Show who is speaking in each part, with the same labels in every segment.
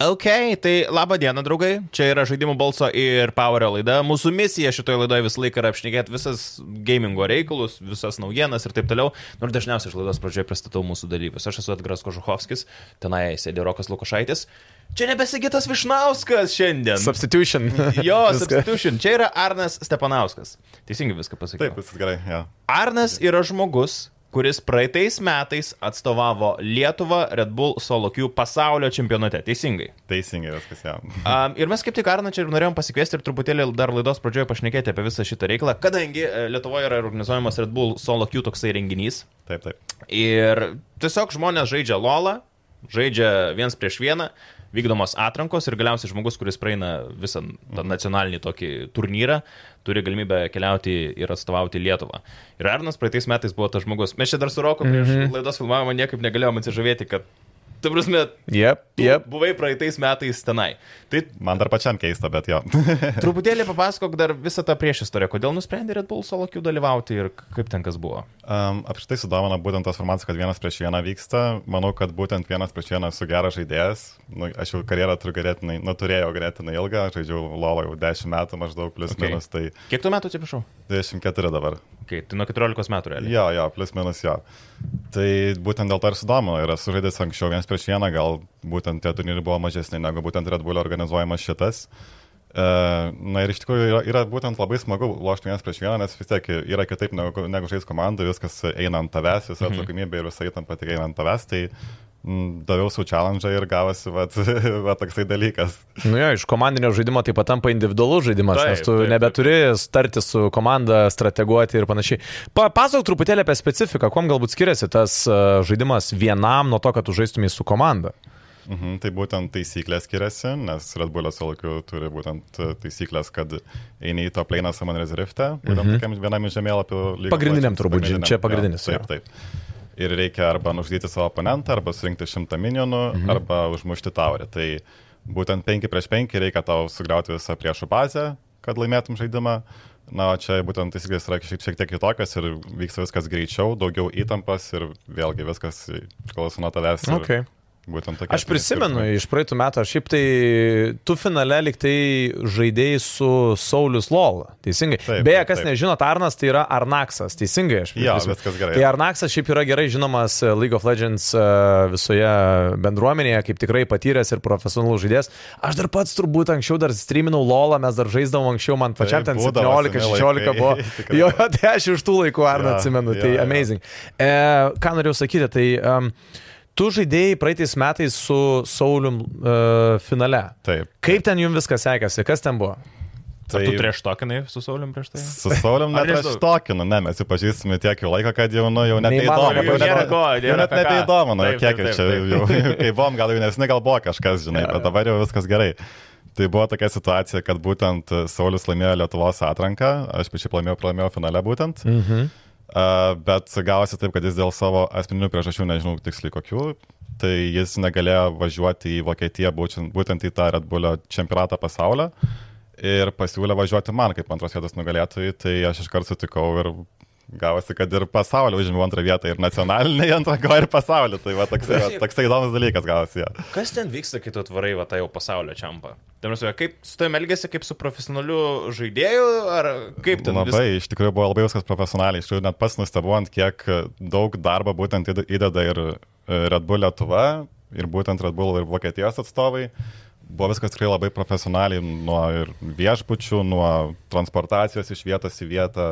Speaker 1: Ok, tai laba diena, draugai. Čia yra žaidimų balso ir Powerio laida. Mūsų misija šitoje laidoje visą laiką yra apšnekėti visas gamingo reikalus, visas naujienas ir taip toliau. Nors dažniausiai aš laidos pradžioje pristatau mūsų dalyvius. Aš esu Atgras Kožuhovskis, tenai sėdi Rokas Lukošaitis. Čia nebesigitas Višnauskas šiandien.
Speaker 2: Substitution.
Speaker 1: Jo,
Speaker 2: Viską.
Speaker 1: substitution. Čia yra Arnas Stepanauskas. Teisingai viską pasakiau.
Speaker 3: Taip, viskas gerai. Ja.
Speaker 1: Arnas yra žmogus, kuris praeitais metais atstovavo Lietuvą Red Bull Solo Q pasaulio čempionate. Teisingai.
Speaker 3: Teisingai viskas, ja.
Speaker 1: Um, ir mes kaip tik Arną čia ir norėjom pasikviesti ir truputėlį dar laidos pradžioje pašnekėti apie visą šitą reikalą, kadangi e, Lietuvoje yra organizuojamas Red Bull Solo Q toksai renginys.
Speaker 3: Taip, taip.
Speaker 1: Ir tiesiog žmonės žaidžia lolą, žaidžia viens prieš vieną, vykdomos atrankos ir galiausiai žmogus, kuris praeina visą tą nacionalinį tokį turnyrą, turi galimybę keliauti ir atstovauti Lietuvą. Ir Arnas praeitais metais buvo tas žmogus. Mes čia dar su Roku prieš mm -hmm. laidos filmavimą niekaip negalėjome atsižavėti, kad, tu prasme,
Speaker 2: Jep,
Speaker 1: yep.
Speaker 2: jep.
Speaker 1: buvai praeitais metais tenai. Tai
Speaker 3: Man dar pačiam keista, bet jo.
Speaker 1: truputėlį papasakok dar visą tą priešistorę, kodėl nusprendė Red Bull salokių dalyvauti ir kaip ten kas buvo.
Speaker 3: Um, apštai sudomina būtent tas formatas, kad vienas prieš vieną vyksta. Manau, kad būtent vienas prieš vieną esu geras žaidėjas. Nu, aš jau karjerą turiu geretinai, nu, turėjau geretinai ilgą, žaidžiau LOLO jau 10 metų maždaug, plus
Speaker 1: Okay.
Speaker 3: okay. minus, tai
Speaker 1: Kiek tu metų atsiprašau?
Speaker 3: 24 dabar.
Speaker 1: Kai, tai nuo 14 metų realiai.
Speaker 3: Jo, jo, plus minus jo. Tai būtent dėl to ir sudomino. Ir esu žaidęs anksčiau vienas prieš vieną, gal būtent tie turnyrai buvo mažesni negu būtent Red Bull organizuojamas šitas. E, Na ir iš tikrųjų yra, yra būtent labai smagu lošti vienas prieš vieną, nes vis tiek yra kitaip negu, negu žais komanda, viskas eina ant tavęs, visa atsakomybė ir visa įtampa tik eina ant tavęs. Tai mm, daviau su challenge ir gavosi va, va toksai dalykas.
Speaker 2: Nu jo, iš komandinio žaidimo taip pat tampa individualus žaidimas,
Speaker 1: Taip,
Speaker 2: taip, nes tu
Speaker 1: taip,
Speaker 2: taip, nebeturi taip. starti su komanda, strateguoti ir panašiai. Papasakok truputėlį apie specifiką, kuo galbūt skiriasi tas e, žaidimas vienam nuo to, kad tu žaistumai su komanda.
Speaker 3: Mhm, tai būtent taisyklės skiriasi, nes Red Bull'as Alkiu turi būtent e, taisyklės, kad eini į to pleiną Summon Reservifte, būtent mm -hmm. vienam iš žemėlapių lygio.
Speaker 2: Mhm. Pagrindiniam turbūt, čia pagrindinis,
Speaker 3: Taip,
Speaker 2: jo.
Speaker 3: taip. Ir reikia arba nužudyti savo oponentą, arba surinkti šimtą minionų,
Speaker 2: Mhm.
Speaker 3: mm -hmm. arba užmušti taurę. Tai būtent 5 prieš 5 reikia tau sugriauti visą priešų bazę, kad laimėtum žaidimą. Na, o čia būtent taisyklės yra šiek, šiek tiek kitokios ir vyksta viskas greičiau, daugiau įtampos ir vėlgi viskas priklauso nuo tavęs. ir
Speaker 2: Okay.
Speaker 3: Būtent tokie
Speaker 2: Aš
Speaker 3: esminiai
Speaker 2: prisimenu
Speaker 3: skirtumai.
Speaker 2: iš praeitų metų, aš šiaip tai tu finale liktai žaidėjai su Saulis Lol, teisingai.
Speaker 3: Taip,
Speaker 2: Beje,
Speaker 3: taip,
Speaker 2: kas
Speaker 3: taip.
Speaker 2: nežino, Tarnas tai yra Arnaksas, teisingai aš.
Speaker 3: Jo,
Speaker 2: prisimenu.
Speaker 3: viskas gerai.
Speaker 2: Tai Arnaksas šiaip yra gerai žinomas e, League of Legends e, visoje bendruomenėje, kaip tikrai patyręs ir profesionalus žaidėjas. Aš dar pats turbūt anksčiau dar streaminau LOLą, mes dar žaisdavom anksčiau, man pačiam ten
Speaker 3: būdavo seni
Speaker 2: 17-16
Speaker 3: laikai,
Speaker 2: buvo.
Speaker 3: tikrai.
Speaker 2: Jo, tai aš iš tų laikų Arną
Speaker 3: Jo,
Speaker 2: atsimenu,
Speaker 3: jo,
Speaker 2: tai
Speaker 3: jo.
Speaker 2: amazing. E, ką norėjau sakyti, tai um, tu žaidėjai praeitais metais su Saulim uh, finale.
Speaker 3: Taip.
Speaker 2: Kaip ten jums viskas sekėsi, kas ten buvo?
Speaker 3: tai-
Speaker 1: Ar tu prieš tokinai su Saulim prieš tai?
Speaker 3: Su Saulim
Speaker 1: Ar
Speaker 3: net
Speaker 1: nežinau.
Speaker 3: aš tokinu, ne, mes jau pažįstame tiek jau laiką, kad jau, nu, jau nebeįdomu.
Speaker 2: Neįmanoma, jau nėra
Speaker 1: ko,
Speaker 3: jau
Speaker 1: nėra
Speaker 3: net
Speaker 1: apie ką.
Speaker 3: nebeįdomu, nu,
Speaker 1: Taip,
Speaker 3: kiek
Speaker 1: taip,
Speaker 3: jau čia,
Speaker 1: taip,
Speaker 3: jau, kai buvom, gal jaunesni, gal buvo kažkas, žinai, bet dabar jau viskas gerai. Tai buvo tokia situacija, kad būtent Saulis laimėjo Lietuvos atranką, aš pačiu laimėjau, pralaimėjau finale būtent, mhm. uh, bet gavosi taip, kad jis dėl savo asmeninių priežasčių, nežinau tiksliai kokių, tai jis negalėjo važiuoti į Vokietiją, būtent, būtent į tą Red Bullio čempionatą pasaulio ir pasiūlė važiuoti man kaip antros vietos nugalėtojai, tai aš iškart sutikau ir gavosi, kad ir pasaulio užėmiau antrą vietą, ir nacionalinį antrą, gal ir pasaulio, tai va toksai, va, toksai įdomus dalykas gavosi. jo.
Speaker 1: Kas ten vyksta, kai tu atvarai va tą jau pasaulio čempą? Tamsi, kaip su tavimi elgesi, kaip su profesionaliu žaidėju, ar kaip ten
Speaker 3: Labai, iš tikrųjų buvo labai viskas profesionaliai, iš tikrųjų net pas nustebuojant, kiek daug darbo būtent įd- įdeda ir e, Red Bull Lietuva, ir būtent Red Bull ir Vokietijos atstovai. Buvo viskas tikrai labai profesionaliai, nuo ir viešbučių, nuo transportacijos iš vietos į vietą,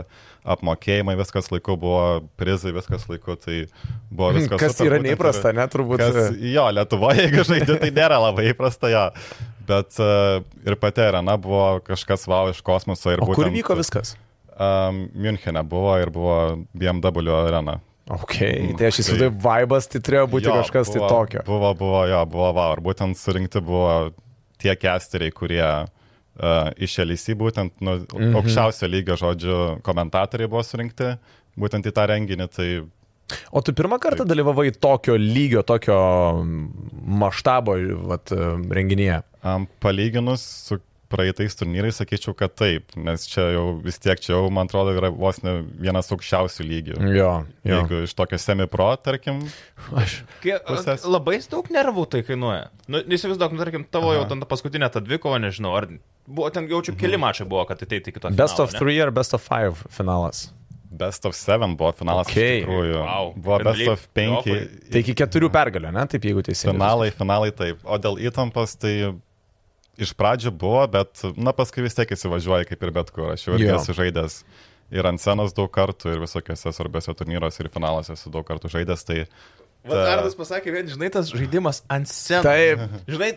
Speaker 3: apmokėjimai, viskas laiku buvo, prizai viskas laiku, tai buvo viskas.
Speaker 2: Hmm, Kas
Speaker 3: super,
Speaker 2: yra
Speaker 3: būtent ir-
Speaker 2: neįprasta, ne, turbūt.
Speaker 3: Kas, jo, Lietuvoje, jeigu žaidži, tai nėra labai įprasta jo. Bet uh, ir pati arena buvo kažkas wow iš kosmoso ir
Speaker 2: O
Speaker 3: buvo.
Speaker 2: kur vyko viskas?
Speaker 3: Um, Münchene buvo ir buvo BMW arena.
Speaker 2: Ok, tai aš įsivaizduoju, vaibas tai turėjo būti jo, kažkas
Speaker 3: Mm, buvo,
Speaker 2: tai tokio.
Speaker 3: Buvo, buvo, jo, buvo wow. Ir būtent surinkti buvo tie kesteriai, kurie uh, iš LC, būtent nu,
Speaker 2: Mhm.
Speaker 3: mm -hmm. aukščiausio lygio žodžių komentatoriai buvo surinkti būtent į tą renginį. Tai
Speaker 2: O tu pirmą kartą dalyvavai tokio lygio, tokio maštabo vat, e, renginyje.
Speaker 3: Um, ehm, palyginus su praeitais turnyrais sakyčiau, kad taip, nes čia jau vis tiek, čia jau, man atrodo, yra vos ne vienas aukščiausių lygių.
Speaker 2: Jo, jo.
Speaker 3: Jeigu iš tokio semi-pro, tarkim,
Speaker 2: Aš,
Speaker 1: Kai,
Speaker 3: Pusės.
Speaker 1: labai daug nervų tai kainuoja. Nu, Įsivaizduok, nu, tarkim, tavo Aha. jau ten ta paskutinė ta dvikova, nežinau, ar buvo ten, jaučiu, keli
Speaker 3: Mhm.
Speaker 1: mačai buvo, kad ateitų iki to.
Speaker 2: best
Speaker 1: finalo,
Speaker 2: of
Speaker 1: ne?
Speaker 2: 3 ar best of 5 finalas.
Speaker 3: best of 7 buvo finalas
Speaker 2: Okay.
Speaker 3: okay. iš tikrųjų.
Speaker 1: Wow.
Speaker 3: Buvo best
Speaker 1: Realiai
Speaker 3: of 5
Speaker 1: playoffai.
Speaker 2: Tai iki keturių pergalių, ne? Taip, jeigu teisingai.
Speaker 3: finalai, finalai taip. O dėl įtampos, tai iš pradžių buvo, bet, na, paskui vis tiek įsivažiuoja kaip ir bet kur. Aš jau irgi
Speaker 2: Jo.
Speaker 3: esu žaidęs ir ant scenos daug kartų, ir visokiose svarbiose turnyruose, ir finaluose esu daug kartų žaidęs, tai
Speaker 1: Vat Ardas pasakė, vien, žinai, tas žaidimas ant scenos.
Speaker 2: Taip.
Speaker 1: Žinai,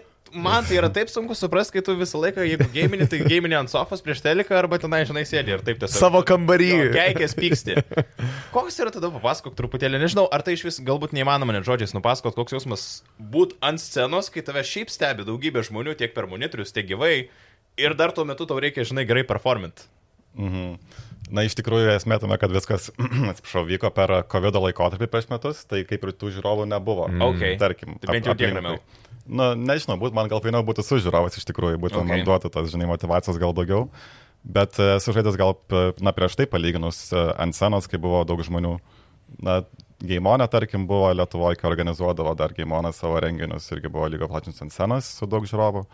Speaker 1: man tai yra taip sunku suprasti, kai tu visą laiką, jeigu gėminį, tai gėminį ant sofos prieš teliką arba tenai, žinai, sėdi ir taip tiesiog.
Speaker 2: Savo kambarį.
Speaker 1: Keikės pyksti. Koks yra tada, papasakok truputėlį, nežinau, ar tai iš vis galbūt neįmanoma net žodžiais nupasakot, koks jausmas būt ant scenos, kai tave šiaip stebi daugybė žmonių, tiek per monitorius, tiek gyvai, ir dar tuo metu tau reikia, žinai, gerai performint.
Speaker 3: Mhm. Na, iš tikrųjų, esmė tame, kad viskas, atsiprašau, vyko per COVID laikotarpį prieš metus, tai kaip ir tų žiūrovų nebuvo.
Speaker 1: Okay.
Speaker 3: Tarkim,
Speaker 1: Mm. Tai bent jau tiek ramiau.
Speaker 3: Na, nežinau, būt, man gal fainiau būtų su žiūrovas iš tikrųjų, būtent okay.
Speaker 1: Okay.
Speaker 3: man duotų tas, žinai, motivacijos gal daugiau. Bet e, esu žaidęs gal, p- na, prieš tai palyginus e, ant scenos, kai buvo daug žmonių. Na, Geimonė, tarkim, buvo Lietuvoje, kai organizuodavo dar Geimonę savo renginius, irgi buvo lygo plačius ant scenos su daug žiūrovų.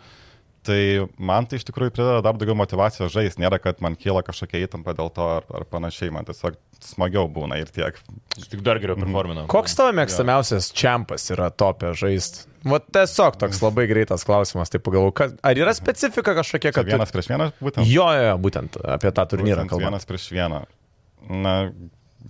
Speaker 3: Tai man tai iš tikrųjų prideda dar daugiau motivacijos žaisti, nėra, kad man kyla kažkokia įtampa dėl to ar, ar panašiai, man tiesiog smagiau būna ir tiek.
Speaker 1: Tik dar geriau performinau.
Speaker 2: Koks tavo mėgstamiausias čempas yra topė žaisti? Vat tiesiog toks labai greitas klausimas, tai pagalvoju, kad- ar yra specifika kažkokia,
Speaker 3: Kad
Speaker 2: kad... tu-
Speaker 3: vienas prieš vieną, būtent.
Speaker 2: Jo, jo, jo, būtent apie tą turnyrą
Speaker 3: Būtent
Speaker 2: kalbame.
Speaker 3: Vienas prieš vieną. Na,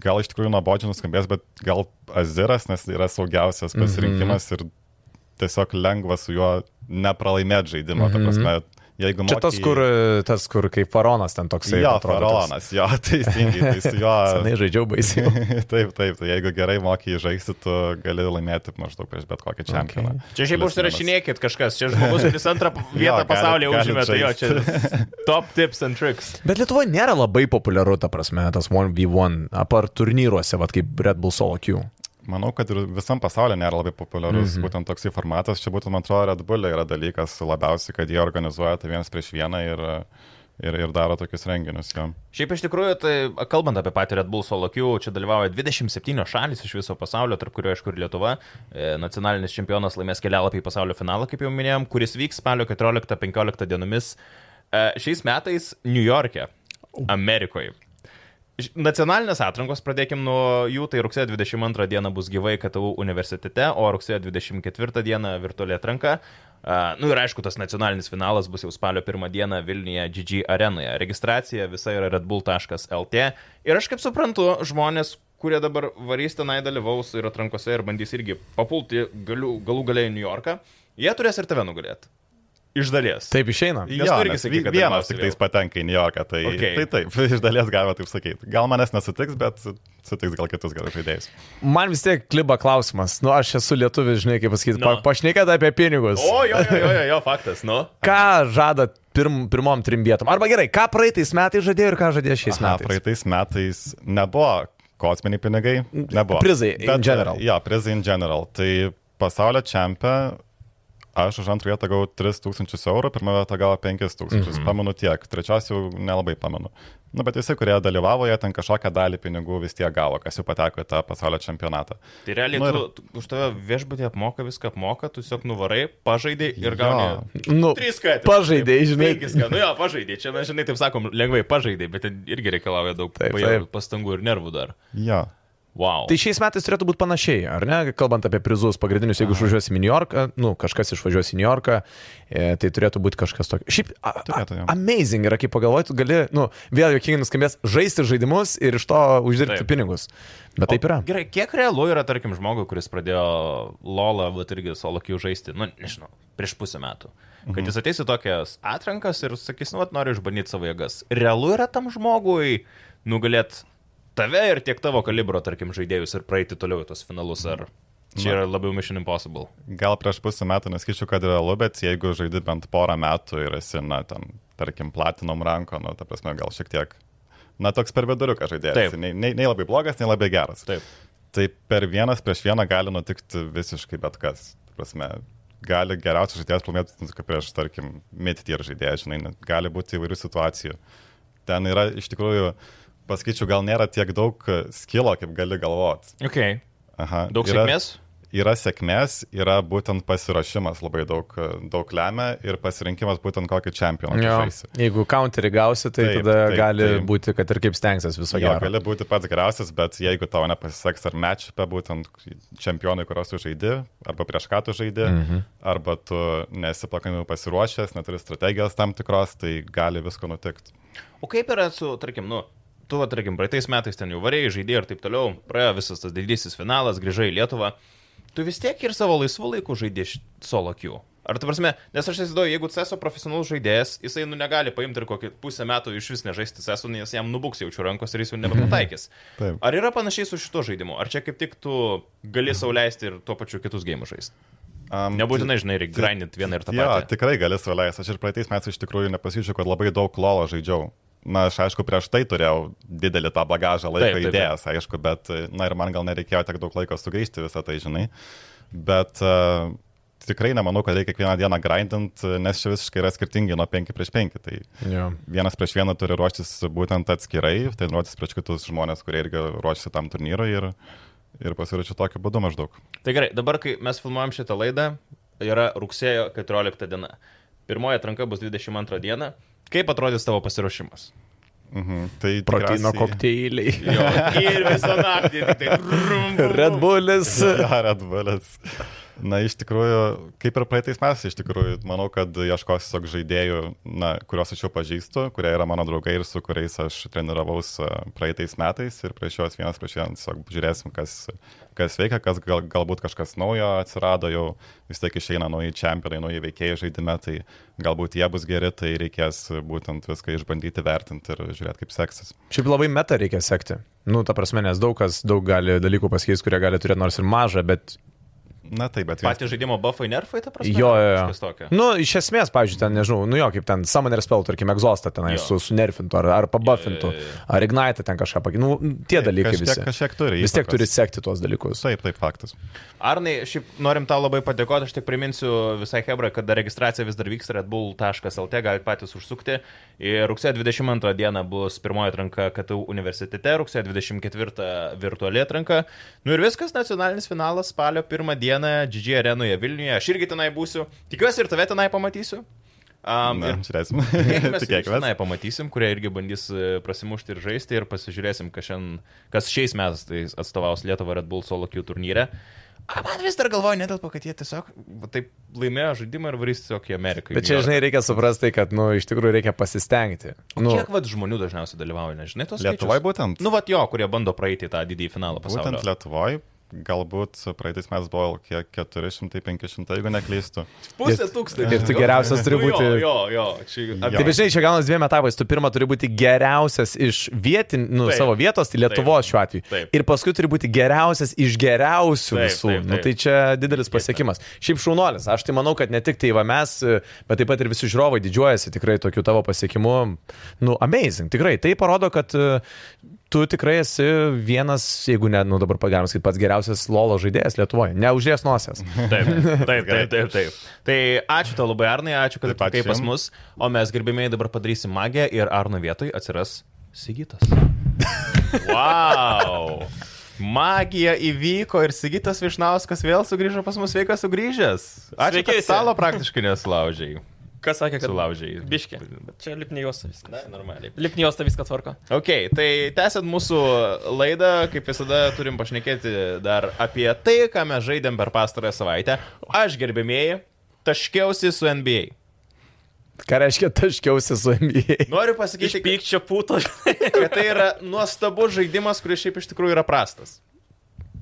Speaker 3: gal iš tikrųjų nuobodžiai nuskambės, bet gal Aziras, nes tai yra saugiausias pasirinkimas mm -hmm. ir tiesiog lengva su juo nepralaimėti žaidimą. Mm -hmm. Ta prasme, jeigu
Speaker 2: Čia tas, kur, e, tas, kur kaip faronas ten toksai.
Speaker 3: Jo,
Speaker 2: atrodo, toks-
Speaker 3: Farolonas, jo, teisingai, tai su
Speaker 2: Senai
Speaker 3: juo.
Speaker 2: žaidžiau baisiai.
Speaker 3: taip, taip, tai jeigu gerai mokiai žaisti, tu gali laimėti maždaug prieš bet kokį čempioną. Okay.
Speaker 1: Čia šiaip užsirašinėkit kažkas, čia žmogus, kuris antrą vietą
Speaker 3: galit-
Speaker 1: pasaulyje
Speaker 3: galit
Speaker 1: užėmė, tai jo,
Speaker 3: žaist.
Speaker 1: čia top tips and tricks.
Speaker 2: Bet Lietuvoje nėra labai populiaru, ta prasme, tas 1v1, apar turnyruose, vad kaip Red Bull Solo Q.
Speaker 3: Manau, kad ir visam pasaulyje nėra labai populiarus mm -hmm. būtent toksai formatas. Čia būtent, man atrodo, Red Bull yra dalykas labiausiai, kad jie organizuoja tai vienas prieš vieną ir, ir, ir daro tokius renginius. Jo.
Speaker 1: Šiaip iš tikrųjų, tai kalbant apie patį Red Bull Solo Q, čia dalyvauja 27 šalis iš viso pasaulio, tarp kurio aišku ir Lietuva. E, Nacionalinis čempionas laimės kelialapį į pasaulio finalą, kaip jau minėjom, kuris vyks spalio 14-15 dienomis e, šiais metais New York'e, Amerikoje. Ž- Nacionalinės atrankos, pradėkim nuo jų, tai rugsėjo 22 dieną bus gyvai KTU universitete, o rugsėjo 24 dieną virtuali atranka. Na nu ir aišku, tas nacionalinis finalas bus jau spalio 1 dieną Vilniuje GG arenoje. Registracija visa yra redbull.lt. Ir aš kaip suprantu, žmonės, kurie dabar varys tenai dalyvaus ir atrankose ir bandys irgi papulti galių, galų galiai į New Yorką, jie turės ir tave nugalėti. Iš dalies.
Speaker 2: Taip išeina.
Speaker 1: Nes tu irgi
Speaker 3: nes
Speaker 1: sakei,
Speaker 3: vi-
Speaker 1: kad
Speaker 3: vienas
Speaker 1: dalyvausi
Speaker 3: tik tais patenka į New Yorką, tai,
Speaker 1: Okay.
Speaker 3: okay. tai taip, iš dalies galima taip sakyti. Gal manęs nesutiks, bet sutiks gal kitus gerus žaidėjus.
Speaker 2: Man vis tiek kliba klausimas. Nu, aš esu lietuvis, žinai, kaip pasakyti,
Speaker 1: Nu.
Speaker 2: no. pašnekėt apie pinigus.
Speaker 1: O, jo, jo, jo, jo, jo, faktas, nu.
Speaker 2: Ką žada pirm, pirmom trim vietom? Arba gerai, ką praeitais metais žadėjo ir ką žadėjo šiais
Speaker 3: Na,
Speaker 2: Aha, metais?
Speaker 3: praeitais metais nebuvo kosminiai pinigai, nebuvo.
Speaker 2: Prizai in
Speaker 3: Bet,
Speaker 2: general.
Speaker 3: Jo, prizai in general. Tai pasaulio čempioną aš už antrą vietą gavau 3000 eurų, pirmą vietą gavau 5000, mm
Speaker 2: Mhm.
Speaker 3: -hmm. pamenu tiek, trečios jau nelabai pamenu. Na, bet visi, kurie dalyvavo, jie ten kažkokią dalį pinigų vis tiek gavo, kas jau pateko į tą pasaulio čempionatą.
Speaker 1: Tai realiai,
Speaker 3: Nu
Speaker 1: nu,
Speaker 3: ir-
Speaker 1: tu, tu, už tave viešbutį apmoka, viską apmoka, tu tiesiog nuvarai, pažaidai ir gauni.
Speaker 2: Nu,
Speaker 1: Trys kartus.
Speaker 2: pažaidei, žinai.
Speaker 1: Penkis, ką. Nu jo, pažaidai. Čia mes, žinai, taip sakom, lengvai pažaidai, bet ten irgi reikalauja daug
Speaker 2: Taip,
Speaker 1: pajėgų,
Speaker 2: taip.
Speaker 1: pastangų ir nervų dar.
Speaker 3: Jo.
Speaker 1: Wow.
Speaker 2: Tai šiais metais turėtų būti panašiai, ar ne? Kalbant apie prizus pagrindinius, jeigu išvažiuosi į New Yorką, nu, kažkas išvažiuos į New Yorką, e, tai turėtų būti kažkas tokio. Šiaip, a, a,
Speaker 3: Turėtų, jo.
Speaker 2: amazing yra, kaip pagalvojai, tu gali, nu, vėl jokingai nuskambės, žaisti žaidimus ir iš to uždirbti
Speaker 1: Taip.
Speaker 2: pinigus. Bet taip yra.
Speaker 1: Gerai, kiek realu yra, tarkim, žmogui, kuris pradėjo LOLą, bet irgi solokių žaisti, nu, nežinau, prieš pusę metų. Kad mhm. jis ateis į tokias atrankas ir sakys, nu, vat, noriu išbandyti savo jėgas. Realu yra tam žmogui nugalėti tave ir tiek tavo kalibro, tarkim, žaidėjus ir praeiti toliau į tos finalus, ar čia yra labiau Mission Impossible.
Speaker 3: Gal prieš pusę metų neskaičiu, kad realu, bet jeigu žaidži bent porą metų ir esi, na, ten, tarkim, platinom ranko, nu, ta prasme, gal šiek tiek, na, toks per viduriuką
Speaker 1: Taip.
Speaker 3: žaidėjas. Nei, nei, nei labai blogas, nei labai geras.
Speaker 1: Taip.
Speaker 3: Tai per vienas prieš vieną gali nutikti visiškai bet kas. Ta Prasme, gali geriausias žaidėjas pralaimėti nu, kaip prieš, tarkim, metityr žaidėją, žinai, net gali būti įvairių situacijų. Ten yra iš tikrųjų, pasakyčiau, gal nėra tiek daug skilo, kaip gali galvoti.
Speaker 1: Okay.
Speaker 3: Aha.
Speaker 1: Daug
Speaker 3: yra,
Speaker 1: sėkmės?
Speaker 3: Yra sėkmės, yra būtent pasiruošimas labai daug, daug lemia ir pasirinkimas būtent kokį čempioną. tu
Speaker 2: Jo,
Speaker 3: žaisi.
Speaker 2: jeigu counterį gausi, tai
Speaker 3: Taip,
Speaker 2: tada
Speaker 3: taip,
Speaker 2: gali
Speaker 3: taip.
Speaker 2: būti, kad ir kaip stengsis viso
Speaker 3: Jo,
Speaker 2: gero.
Speaker 3: gali būti pats geriausias, bet jeigu tau nepasiseks ar matšupė būtent čempionai, kuriuos tu žaidi, arba prieš ką tu žaidi, mm -hmm. arba tu nesi pakankamai pasiruošęs, neturi strategijos tam tikros, tai gali visko nutikti.
Speaker 1: O kaip yra su, tarkim, nu, tu, va, tarkim, praeitais metais ten jau varėjai, žaidėjai ir taip toliau, praėjo visas tas didysis finalas, grįžai į Lietuvą, tu vis tiek ir savo laisvų laikų žaidė solo Q. Ar tu prasme, nes aš įsivaizduoju, jeigu CSO profesionalus žaidėjas, jisai nu negali paimti ir kokį pusę metų iš vis nežaisti CSO, nes jam nubuks jaučiu rankos ir jis jau nebepataikys.
Speaker 3: Mm-hmm. Taip.
Speaker 1: Ar yra panašiai su šito žaidimu? Ar čia kaip tik tu gali
Speaker 3: Mm-hmm.
Speaker 1: sauliaisti ir tuo pačiu kitus gėjimus žaisti?
Speaker 3: Um,
Speaker 1: Nebūtinai, žinai, reikia grindinti vieną ir tą
Speaker 3: Jo,
Speaker 1: patį.
Speaker 3: tikrai gali suleisti. Aš ir praeitais metais iš tikrųjų nepasižiūrėjau, kad labai daug lolo žaidžiau. Na, aš aišku, prieš tai turėjau didelį tą bagažą laiko
Speaker 1: Taip, taip, taip.
Speaker 3: idėjas, aišku, bet, na ir man gal nereikėjo tiek daug laiko sugaišti visą tai, žinai. Bet uh, tikrai nemanau, kad reikia kiekvieną dieną grindint, nes čia visiškai yra skirtingi nuo 5 prieš 5. Tai
Speaker 2: Jo.
Speaker 3: vienas prieš vieną turi ruoštis būtent atskirai, tai ruoštis prieš kitus žmonės, kurie irgi ruošiasi tam turnyrui ir, ir pasiruošiu tokiu būdu maždaug.
Speaker 1: Tai gerai, dabar, kai mes filmuojam šitą laidą, yra rugsėjo 14 diena. Pirmoji atranka bus 22 diena. Kaip atrodys tavo pasiruošimas?
Speaker 3: Mhm. Tai
Speaker 2: Proteino
Speaker 3: tikriausiai-
Speaker 2: kokteiliai.
Speaker 1: Jo, ir visą naktį. tik Tai, rum, bum,
Speaker 2: Red
Speaker 1: bum.
Speaker 2: Bullis.
Speaker 3: Ja, Red Bullis. Na, iš tikrųjų, kaip ir praeitais mes, iš tikrųjų, manau, kad ieškosiu tiesiog žaidėjų, na, kuriuos aš jau pažįstu, kurie yra mano draugai ir su kuriais aš treniravaus e, praeitais metais ir prieš juos vienas prieš vieną tiesiog žiūrėsim, kas, kas veikia, kas gal, galbūt kažkas naujo atsirado, jau vis tiek išeina nauji čempionai, nauji veikėjai žaidime, tai galbūt jie bus geri, tai reikės būtent viską išbandyti, vertinti ir žiūrėti, kaip seksis.
Speaker 2: Šiaip labai meta reikia sekti. Nu, ta prasme, nes daug kas, daug gali dalykų pasikeisti, kurie gali turėti nors ir mažą, bet
Speaker 3: Na taip, bet vienas
Speaker 1: Patys žaidimo buffai nerfai, ta prasme?
Speaker 2: Jo, jo,
Speaker 1: Kažkas
Speaker 2: jo.
Speaker 1: tokio.
Speaker 2: Nu, iš esmės, pavyzdžiui, ten, nežinau, nu jo, kaip ten Summoner Spell, tarkim, egzostą tenai
Speaker 1: Jo.
Speaker 2: su, sunerfintų, ar, ar pabuffintų,
Speaker 1: Jo, jo, jo.
Speaker 2: ar ignite ten kažką pakeitų. Nu, tie dalykai
Speaker 3: kažkiek-
Speaker 2: visi.
Speaker 3: kažkiek turi
Speaker 2: Vis tiek
Speaker 3: įtakos.
Speaker 2: turi sekti tuos dalykus.
Speaker 3: Taip, taip, faktas.
Speaker 1: Arnai, šiaip norim tau labai padėkoti, aš tik priminsiu visai Hebra, kad dar registracija vis dar vyksta redbull.lt, galite patys užsukti. Ir rugsėjo 22 dieną bus pirmoji atranka KTU universitete, rugsėjo 24 virtuali atranka. Nu ir viskas, nacionalinis finalas spalio 1 dieną GG arenoje Vilniuje, aš irgi tenai būsiu, tikiuosi ir tave tenai pamatysiu. Um,
Speaker 3: Na,
Speaker 1: ir
Speaker 3: žiūrėsim.
Speaker 1: Tikėkimės, kad tenai pamatysim, kurie irgi bandys e, prasimušti ir žaisti ir pasižiūrėsim, kas, šian, kas šiais metais tai atstovaus Lietuvą Red Bull Solo Q turnyre. A, man vis dar galvoju, netelpa, kad jie tiesiog va taip laimėjo žaidimą ir varys tiesiog į Ameriką. į
Speaker 2: Bet čia,
Speaker 1: Niujorką.
Speaker 2: žinai, reikia suprasti, kad, nu, iš tikrųjų reikia pasistengti. Nu,
Speaker 1: Kiek vad žmonių dažniausiai dalyvauja, nežinai, tos
Speaker 3: Lietuvoje būtent.
Speaker 1: Nu, vad jo, kurie bando praeiti tą didįjį finalą
Speaker 3: Būtent
Speaker 1: pasaulio.
Speaker 3: Lietuvoje, galbūt praeitais metais buvo kiek 400-500, jeigu neklystu.
Speaker 1: Pusė
Speaker 2: Ir-
Speaker 1: tūkstančio.
Speaker 2: ir tu geriausias turi
Speaker 1: Nu,
Speaker 2: būti-
Speaker 1: Jo, jo, jo. Čia,
Speaker 2: Taip,
Speaker 1: apie...
Speaker 2: bet žinai, Tai čia gaunas dviem etapais. Tu pirma turi būti geriausias iš vietin, nu,
Speaker 1: Taip.
Speaker 2: taip, savo vietos, tai Lietuvos
Speaker 1: Taip.
Speaker 2: šiuo atveju.
Speaker 1: Taip.
Speaker 2: Ir paskui turi būti geriausias iš geriausių
Speaker 1: Taip,
Speaker 2: visų.
Speaker 1: taip,
Speaker 2: Nu,
Speaker 1: taip.
Speaker 2: tai čia didelis pasiekimas. Šiaip šaunuolis. Aš tai manau, kad ne tik tai va mes, bet taip pat ir visi žiūrovai didžiuojasi tikrai tokiu tavo pasiekimu. Nu, amazing. Tikrai. Tai parodo, kad e, tu tikrai esi vienas, jeigu ne, nu dabar pagalvos, kaip pats geriausias lolo žaidėjas Lietuvoje. Neužės nosies.
Speaker 1: Taip, taip, taip, taip, taip. Tai ačiū tau labai, Arnai, ačiū, kad
Speaker 3: Taip, ačiū
Speaker 1: atvykai pas
Speaker 3: jum.
Speaker 1: mus. O mes gerbėmiai dabar padarysim magiją ir Arno vietoj atsiras Sigitas. Wow! Magija įvyko ir Sigitas Višnauskas vėl sugrįžo pas mus, sveikas sugrįžęs. Ačiū,
Speaker 4: Sveiki
Speaker 1: kad
Speaker 4: visi.
Speaker 1: stalo praktiškai nesulaužiai.
Speaker 4: Kas sakė, kad
Speaker 1: Sulaužiai.
Speaker 4: Biškė. Bet čia lipni juosta viskas.
Speaker 1: Na, normaliai.
Speaker 4: Lipni juosta viską tvarko.
Speaker 1: Ok, tai tęsiant mūsų laidą, kaip visada turim pašnekėti dar apie tai, ką mes žaidėm per pastarąją savaitę. Aš gerbėmėjai, taškiausi su NBA.
Speaker 2: Ką reiškia taškiausi su MBA?
Speaker 1: Noriu
Speaker 4: Iš
Speaker 1: pasakyti,
Speaker 4: pykčio puto.
Speaker 1: kad tai yra nuostabus žaidimas, kuris šiaip iš tikrųjų yra prastas.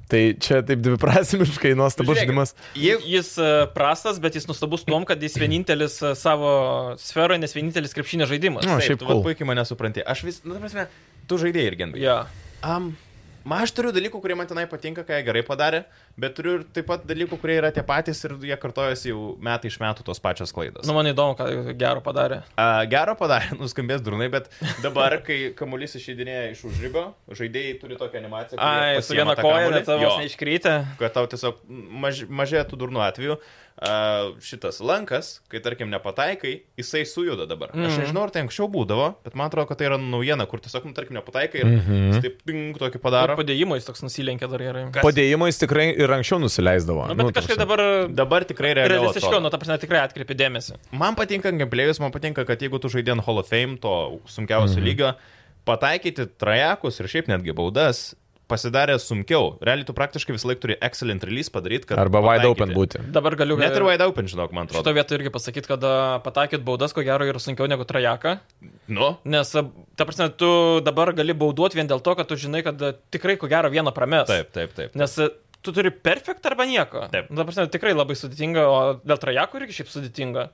Speaker 2: Tai čia taip dviprasmiškai nuostabus
Speaker 1: Žiūrėkit,
Speaker 2: žaidimas.
Speaker 1: Jeigu,
Speaker 4: Jis e, prastas, bet jis nustabus tom, kad jis vienintelis e, savo sferoje, nes vienintelis krepšinio žaidimas.
Speaker 2: Nu,
Speaker 1: Taip,
Speaker 2: šiaip
Speaker 1: tu vat nu,
Speaker 2: cool.
Speaker 1: puikiai mane supranti. Aš vis, na, ta prasme, tu žaidėjai ir genbai.
Speaker 4: Ja.
Speaker 1: Am, Man aš turiu dalykų, kurie man tenai patinka, ką jie gerai padarė, bet turiu ir taip pat dalykų, kurie yra tie patys ir jie kartojasi jau metai iš metų tos pačios klaidos.
Speaker 4: Nu, man įdomu, ką gero padarė.
Speaker 1: A, gero padarė, nuskambės durnai, bet dabar, kai kamuolys išeidinėja iš užrybio, žaidėjai turi tokią animaciją. kur jie
Speaker 4: Ai, su
Speaker 1: pasiima
Speaker 4: viena
Speaker 1: tą
Speaker 4: koja,
Speaker 1: kamuolį.
Speaker 4: net tavo
Speaker 1: Jo,
Speaker 4: neiškrytė.
Speaker 1: kad tau tiesiog maž, mažėja tų durnų atveju. A, šitas lankas, kai tarkim nepataikai, jisai sujuda dabar. Mm.
Speaker 4: Mhm.
Speaker 1: Aš nežinau, ar tai anksčiau būdavo, bet man atrodo, kad tai yra naujiena, kur tiesiog, nu, tarkim, nepataikai ir mm -hmm. jis taip ping tokį
Speaker 4: Ar
Speaker 1: padaro.
Speaker 4: padėjimo Mhm. jis toks nusilenkė dar gerai.
Speaker 1: Kas-
Speaker 2: Padėjimo jis tikrai ir anksčiau nusileisdavo. Nu,
Speaker 4: Na, Nu, bet
Speaker 2: ta
Speaker 4: kažkaip
Speaker 2: prasme.
Speaker 4: dabar
Speaker 1: Dabar tikrai realiau.
Speaker 4: realistiškiau,
Speaker 1: atrodo.
Speaker 4: nu, ta prasme, tikrai atkreipi dėmesį.
Speaker 1: Man patinka gameplayus, man patinka, kad jeigu tu žaidė ant Hall of Fame to
Speaker 2: Mhm.
Speaker 1: sunkiausio mm -hmm. lygio, pataikyti trajekus ir šiaip netgi baudas pasidarė sunkiau. Realiai tu praktiškai visą laiką turi excellent release padaryti, kad...
Speaker 2: Arba wide
Speaker 1: pataikyti.
Speaker 2: open būti.
Speaker 4: Dabar galiu...
Speaker 1: Net ir wide open, žinok, man atrodo.
Speaker 4: Šito vietą irgi pasakyti, kad patakyti baudas, ko gero, yra sunkiau negu trajeką.
Speaker 1: Nu,
Speaker 4: Nes, a, ta prasme, tu dabar gali bauduoti vien dėl to, kad tu žinai, kad a, tikrai ko gero vieną prames.
Speaker 1: taip, taip, taip.
Speaker 4: Nes a, tu turi perfekt arba nieko.
Speaker 1: Taip.
Speaker 4: Na, ta prasme, tikrai labai sudėtinga, o dėl trajekų irgi šiaip sudėtinga.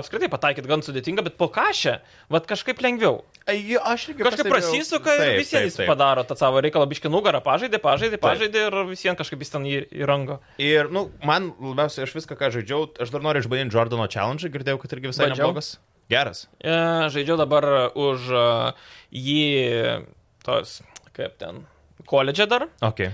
Speaker 4: Apskritai pataikyti gan sudėtinga, bet po kažę, vad kažkaip lengviau.
Speaker 1: Ai, aš irgi
Speaker 4: Kažkaip prasisuka ir visiems jis padaro tą savo reikalą, biški nugarą, pažaidė, pažaidė, pažaidė ir visiems kažkaip jis ten į- įrango.
Speaker 1: Ir, nu, man labiausiai, aš viską, ką žaidžiau, aš dar noriu išbandyti Jordano challenge, girdėjau, kad irgi visai
Speaker 4: Bandžiau.
Speaker 1: neblogas. Geras.
Speaker 4: E, Žaidžiau dabar už e, jį, tos, kaip ten, koledžė dar.
Speaker 1: Ok.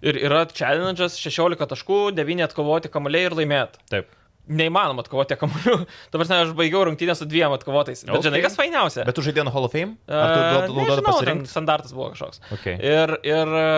Speaker 4: Ir yra challenge'as 16 taškų, 9 atkovoti kamuoliai ir laimėti.
Speaker 1: Taip.
Speaker 4: Neįmanoma atkovoti kamuolių. Dabar ne, aš baigiau rungtynę su dviem atkovotais. Bet okay. žinai,
Speaker 1: Okay.
Speaker 4: kas fainiausia?
Speaker 1: Bet tu žaidėjai ant Hall of Fame? Ar tu duodai pasirinkti?
Speaker 4: Standartas buvo kažkoks.
Speaker 1: Okay.
Speaker 4: Ir, ir e,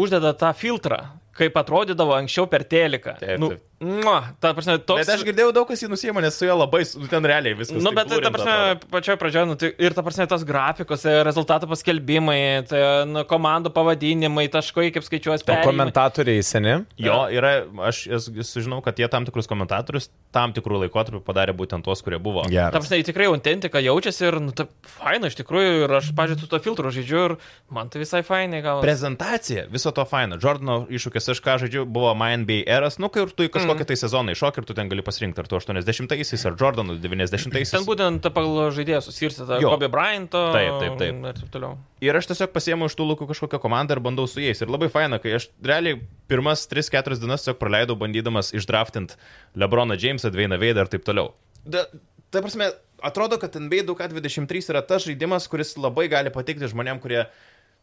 Speaker 4: uždeda tą filtrą, kaip atrodydavo anksčiau per teliką.
Speaker 1: Taip,
Speaker 4: nu,
Speaker 1: taip.
Speaker 4: mua, ta prasme, toks...
Speaker 1: Bet aš girdėjau daug kas jį nusėmė, nes su juo labai, su- nu, ten realiai viskas.
Speaker 4: Nu,
Speaker 1: taip
Speaker 4: bet, ta
Speaker 1: būrinta
Speaker 4: prasme,
Speaker 1: atrodo.
Speaker 4: pačioje pradžioje, nu, tai, ir ta prasme, tas grafikos, e, rezultatų paskelbimai, tai, nu, komandų pavadinimai, taškai, kaip skaičiuojas,
Speaker 2: O komentatoriai seni.
Speaker 1: Jo, yra, aš es- sužinau, kad jie tam tikrus komentatorius tam tikrų laikotarpių padarė būtent tuos, kurie buvo.
Speaker 3: Geras.
Speaker 4: Ta prasme, jie tikrai autentika jaučiasi ir, nu, ta faina iš tikrųjų, ir aš, pažiūrėjau, su to filtru žaidžiu ir man tai visai fainai gal.
Speaker 1: Prezentacija, viso to faina. Jordano iššūkis, aš ką žaidžiu, buvo My NBA eras, nu, kai ir tu į
Speaker 4: Mhm.
Speaker 1: kažkokį tai sezoną iššok ir tu ten gali pasirinkti, ar tu 80-aisiais, ar Jordano 90-aisiais.
Speaker 4: Ten būtent ta pagal žaidėją susirstata,
Speaker 1: Jo.
Speaker 4: Kobe Bryanto
Speaker 1: Taip, taip, taip.
Speaker 4: ir taip toliau.
Speaker 1: Ir aš tiesiog pasiemu iš tų lūkų kažkokią komandą ir bandau su jais. Ir labai faina, kai aš realiai pirmas 3-4 dienas tiesiog praleidau bandydamas išdraftint Lebroną Jamesą, Dvainą Veidą ir taip toliau. Da, ta prasme, atrodo, kad NBA 2K23 yra tas žaidimas, kuris labai gali patikti žmonėm, kurie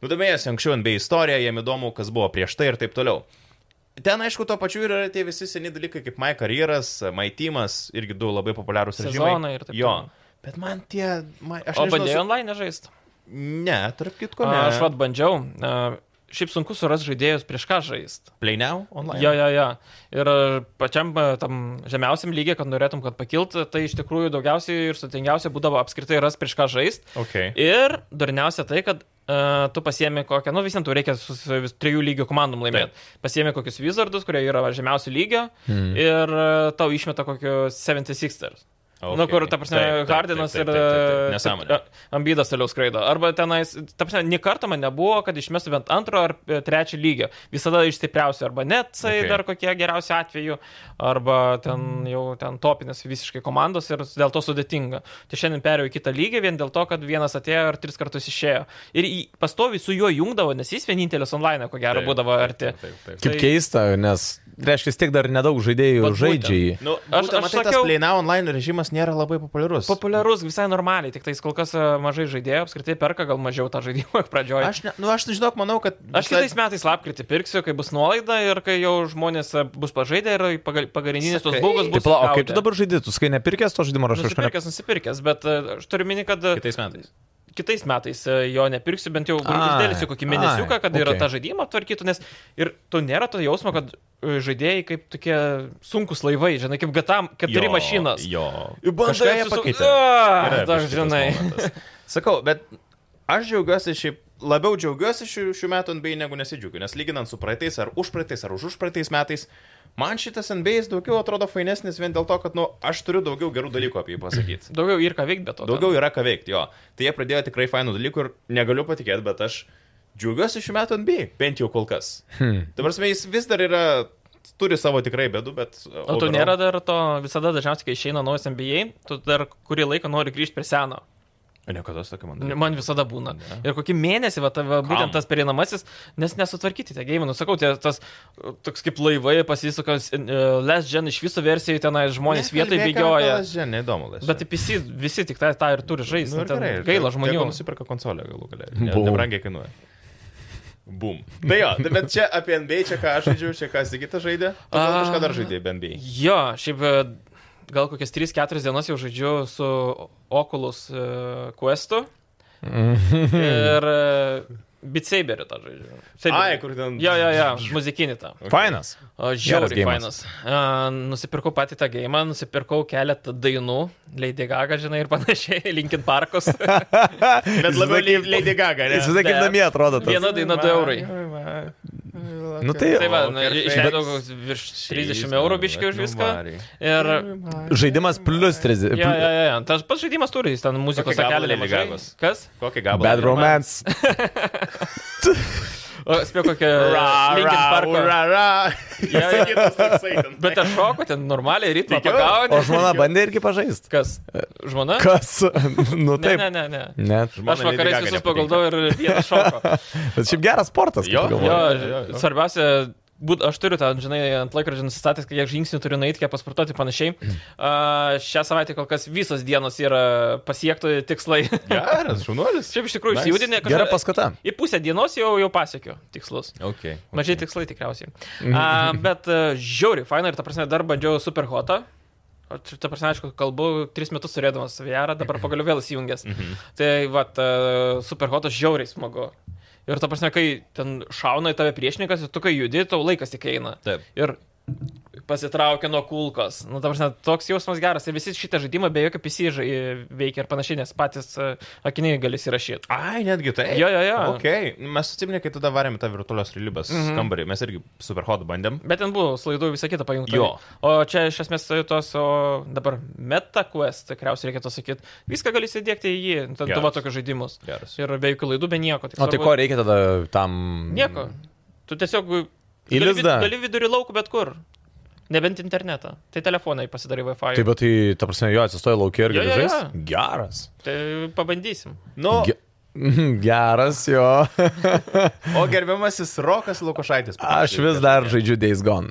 Speaker 1: nudomėjęs anksčiau NBA istoriją, jiem įdomu, kas buvo prieš tai ir taip toliau. Ten, aišku, tuo pačiu ir yra tie visi seni dalykai, kaip My Careeras, My Teamas, irgi du labai populiarūs režimai.
Speaker 4: Sezonai ir taip
Speaker 1: jo.
Speaker 4: toliau.
Speaker 1: Bet man tie... Man, aš
Speaker 4: O
Speaker 1: nežinau,
Speaker 4: bandėjai
Speaker 1: su-
Speaker 4: online žaisti?
Speaker 1: Ne, tarp kitko, ne.
Speaker 4: Aš vad bandžiau. A, Šiaip sunku surasti žaidėjus prieš ką žaisti.
Speaker 1: Pleiniau online.
Speaker 4: Jo, jo, jo. Ir a, pačiam a, tam žemiausiam lygiai, kad norėtum, kad pakiltų, tai iš tikrųjų daugiausiai ir sutingiausia būdavo apskritai rasti prieš ką žaisti.
Speaker 1: Okay.
Speaker 4: Ir durniausia tai, kad uh, tu pasiemi kokią, nu visiems tu reikia su su vis trijų lygių komandom laimėti. Pasiemi kokius Wizardus, kurie yra žemiausių lygio
Speaker 1: Hmm.
Speaker 4: mm. ir uh, tau išmeta kokius 76ers. Okay. Nu, kur, ta prasme, Hardinas ir... e,
Speaker 1: Nesąmonė.
Speaker 4: e, Ambidas toliau skraido. Arba tenais, ta prasme, nei kartą man nebuvo, kad išmestų bent antro ar e, trečio lygio. Visada iš stipriausio. Arba netsai
Speaker 1: Okay.
Speaker 4: okay. dar kokie geriausi atveju, arba ten jau ten topinės visiškai komandos ir dėl to sudėtinga. Tai šiandien perėjau į kitą lygį vien dėl to, kad vienas atėjo ir tris kartus išėjo. Ir į- pastoviai su juo jungdavo, nes jis vienintelis online, ko gero,
Speaker 1: Taip,
Speaker 4: būdavo arti.
Speaker 1: Taip, taip.
Speaker 2: Kaip
Speaker 4: Tai-
Speaker 2: keista, nes, tai reiškia, tiek dar nedaug žaidėjų
Speaker 4: Vat būtent.
Speaker 2: žaidžia jį.
Speaker 1: Nu, aš,
Speaker 4: Aš- aš
Speaker 1: aš matai, sakiau,
Speaker 4: sakiau-
Speaker 1: tas Pleiniau online režimas nėra labai populiarus.
Speaker 4: Populiarus visai normaliai, tik tais kol kas e, mažai žaidėjų, apskritai perka gal mažiau tą žaidimą pradžioje.
Speaker 1: Aš, ne, nu, aš žinok, manau, kad...
Speaker 4: Aš kitais metais lapkritį pirksiu, kai bus nuolaida ir kai jau žmonės e, bus pažaidę ir pagal- pagrindinis tos
Speaker 1: Sakai.
Speaker 4: būgas
Speaker 2: Taip,
Speaker 4: bus.
Speaker 2: Tai pala, o kaip
Speaker 4: atgaudę.
Speaker 2: tu dabar žaidži, tu skai nepirkęs to žaidimo, ar aš kažką ne...
Speaker 4: Nusipirkęs, nusipirkęs, bet e, aš turiu mini, kad e,
Speaker 1: Kitais metais.
Speaker 4: kitais metais e, jo nepirksiu, bent jau
Speaker 2: Ai,
Speaker 4: uždėlisiu kokį mėnesiuką,
Speaker 2: ai,
Speaker 4: kad yra
Speaker 2: okei.
Speaker 4: tą žaidimą tvarkytų, nes ir tu nėra to jausmo, kad e, žaidėjai kaip tokie sunkus laivai, žinai, kaip gatam keturi
Speaker 1: Jo,
Speaker 4: mašinas.
Speaker 1: Jo.
Speaker 4: Bandai
Speaker 1: Kažką jie
Speaker 4: apsisukt-
Speaker 1: pakeitė.
Speaker 4: A,
Speaker 1: Yra
Speaker 4: dar
Speaker 1: biškį tas
Speaker 4: žinai.
Speaker 1: momentas. Sakau, bet aš džiaugiuosi šiaip labiau džiaugiuosi šių, šių metų NBA negu nesidžiugiu, nes lyginant su praeitais ar užpraeitais ar už užpraeitais metais, man šitas NBA jis daugiau atrodo fainesnis vien dėl to, kad, nu, aš turiu daugiau gerų dalykų apie jį pasakyti.
Speaker 4: Daugiau ir ką veikti, bet to.
Speaker 1: Daugiau yra ką veikti, jo. Tai jie pradėjo tikrai fainų dalykų ir negaliu patikėti, bet aš džiaugiuosi šių metų NBA, bent jau kol kas. Hmm. Dabar, mes jis vis dar yra, turi savo tikrai bėdų, bet...
Speaker 4: O tu nėra dar to, visada dažniausiai, kai išeina naujas NBA, tu dar kurį laiką nori grįžti prie seno.
Speaker 1: Niekada su tokia man.
Speaker 4: Nu, Man visada būna.
Speaker 1: Ne.
Speaker 4: Ir kokį mėnesį, va, tave, būtent
Speaker 1: Mhm. Kam?
Speaker 4: tas pereinamasis, nes nesutvarkyti tie gėjimai. Nusakau, tie, tas e, toks kaip laivai pasisuka, e, Last Gen iš viso versijų tenai žmonės vietai bėgioja.
Speaker 1: Žinai, neįdomu. Last Gen.
Speaker 4: Bet į PC visi tik tą, tą ir turi žaisti.
Speaker 1: Nu
Speaker 4: Nu,
Speaker 1: ir
Speaker 4: gerai,
Speaker 1: ir tie-
Speaker 4: gaila
Speaker 1: tie,
Speaker 4: žmonių.
Speaker 1: kas Nusipirka konsolę galų galę.
Speaker 2: Bum.
Speaker 1: Nebrangiai kainuoja. Bum. Tai jo, tai bet čia apie NBA, čia ką aš žaidžiu, čia ką Sigita žaidė. Tu gal kažką dar
Speaker 4: A.
Speaker 1: žaidė apie NBA.
Speaker 4: Jo, šiaip e, gal kokias 3-4 dienas jau žaidžiu su Oculus e, Questu
Speaker 1: Mhm.
Speaker 4: ir Bitsaberiu tą žaidžiu. Saberį.
Speaker 1: Ai, kur ten.
Speaker 4: Jo, jo, jo, muzikinį tą.
Speaker 2: Fainas.
Speaker 4: O,
Speaker 2: Geras
Speaker 4: Žiauriai
Speaker 2: geimas.
Speaker 4: fainas. A, Nusipirkau patį tą gėjimą, nusipirkau keletą dainų, Lady Gaga, žinai, ir panašiai, Linkin Parkus.
Speaker 1: Bet labiau
Speaker 2: Įsivaizduok,
Speaker 1: Lady- Lady Gaga, ne?
Speaker 2: Įsivaizduok, kaip
Speaker 4: Ne.
Speaker 2: namie atrodo tas.
Speaker 4: Viena daina 2 eurai.
Speaker 2: Nu tai
Speaker 4: Tai va,
Speaker 1: O,
Speaker 4: nu,
Speaker 1: perfekt. nu,
Speaker 4: išleidau kokius virš 30 eurų biškių už viską. Ir...
Speaker 2: žaidimas plus 30.
Speaker 4: Ja, ja, ja, ja. Tas pats žaidimas turi, jis ten muzikos
Speaker 1: Kokį gabalą
Speaker 4: takelį
Speaker 1: Lady
Speaker 4: nemažai.
Speaker 1: Gagos?
Speaker 4: Kas?
Speaker 1: Kokį gabalą?
Speaker 2: Bad romance.
Speaker 4: O, Spėjau kokią...
Speaker 1: Ra,
Speaker 4: Linkin
Speaker 1: ra,
Speaker 4: Parko.
Speaker 1: ra, ra.
Speaker 4: Jo, jo.
Speaker 1: Sakytas toksai ten.
Speaker 4: Bet aš šoku, ten normaliai ritmą
Speaker 1: Tikiu.
Speaker 2: O
Speaker 4: pagauni.
Speaker 2: žmona bandė irgi pažaist.
Speaker 4: Kas? Žmona?
Speaker 2: Kas? Nu
Speaker 4: Ne,
Speaker 2: taip.
Speaker 4: ne, ne, ne.
Speaker 2: Net.
Speaker 1: Žmona
Speaker 4: Aš
Speaker 1: Lady
Speaker 4: vakarais
Speaker 1: Gaga
Speaker 4: visus
Speaker 1: nepatinka.
Speaker 4: pagaudau ir vieną šoką.
Speaker 2: Bet šiaip geras sportas.
Speaker 1: Jo,
Speaker 2: kaip pagalvoji.
Speaker 1: Jo,
Speaker 4: Jo,
Speaker 1: jo, jo.
Speaker 4: svarbiausia, būt, aš turiu tą, žinai, ant laikrodžio nusistatęs, kiek žingsnių turiu nueiti, kiek pasportuoti ir panašiai.
Speaker 1: Mm.
Speaker 4: A, šią savaitę kol kas visos dienos yra pasiektų tikslai.
Speaker 1: Geras, šunuolis.
Speaker 4: Šiaip iš tikrųjų
Speaker 1: Nice.
Speaker 4: išsijudinė
Speaker 2: Gera
Speaker 4: kažkaip.
Speaker 2: paskata.
Speaker 4: Į pusę dienos jau, jau pasiekiu tikslus.
Speaker 1: Okay.
Speaker 4: Mažai tikslai tikriausiai. A, bet a, žiauri, fainai ir ta prasme dar bandžiau superhotą. O čia, ta prasme, aišku, kalbu, tris metus turėdamas VR, dabar pagaliau vėl įsijungęs. Tai, va, superhotas žiauriai smagu. Ir ta prasme, kai ten šauna į tave priešininkas, ir tu kai judi, tau laikas tik eina.
Speaker 1: Taip.
Speaker 4: Ir pasitraukia nuo kulkos. Na, ta prasme, toks jausmas geras. Ir visi šitą žaidimą be jokio PC žai- veikia ir panašiai, nes patys a, akiniai gali įrašyti.
Speaker 1: Ai, netgi tai.
Speaker 4: Jo, jo, jo.
Speaker 1: Okay. Mes susimnė, kai tada varėme tą virtualios realybės
Speaker 4: Mhm.
Speaker 1: mm -hmm. kambarį, mes irgi superhot bandėm.
Speaker 4: Bet ten buvo slaidų visą kitą pajungta.
Speaker 1: Jo.
Speaker 4: O čia iš esmės tai tos, o dabar MetaQuest, tikriausiai reikėtų sakyti, viską gali įsidėkti į jį, ten
Speaker 1: Geras.
Speaker 4: tuvo tokius žaidimus.
Speaker 1: Geras.
Speaker 4: Ir be jokių laidų, be nieko. tik
Speaker 2: O tai
Speaker 4: svarbu-
Speaker 2: ko reikia tada tam?
Speaker 4: Nieko. Tu tiesiog...
Speaker 2: Į
Speaker 4: gali
Speaker 2: lizdą?
Speaker 4: vid- Gali vidurį laukų bet kur. Nebent internetą. Tai telefonai pasidarai Wi-Fi.
Speaker 2: Taip, bet tai, ta prasme, jo atsistoja laukia ir
Speaker 4: Jo,
Speaker 2: gali
Speaker 4: jo, jo.
Speaker 2: žaisti. Geras.
Speaker 4: Tai pabandysim.
Speaker 1: Nu,
Speaker 2: Ge- Geras jo.
Speaker 1: o gerbiamasis Rokas Lukošaitis.
Speaker 2: Aš vis dar žaidžiu Days Gone.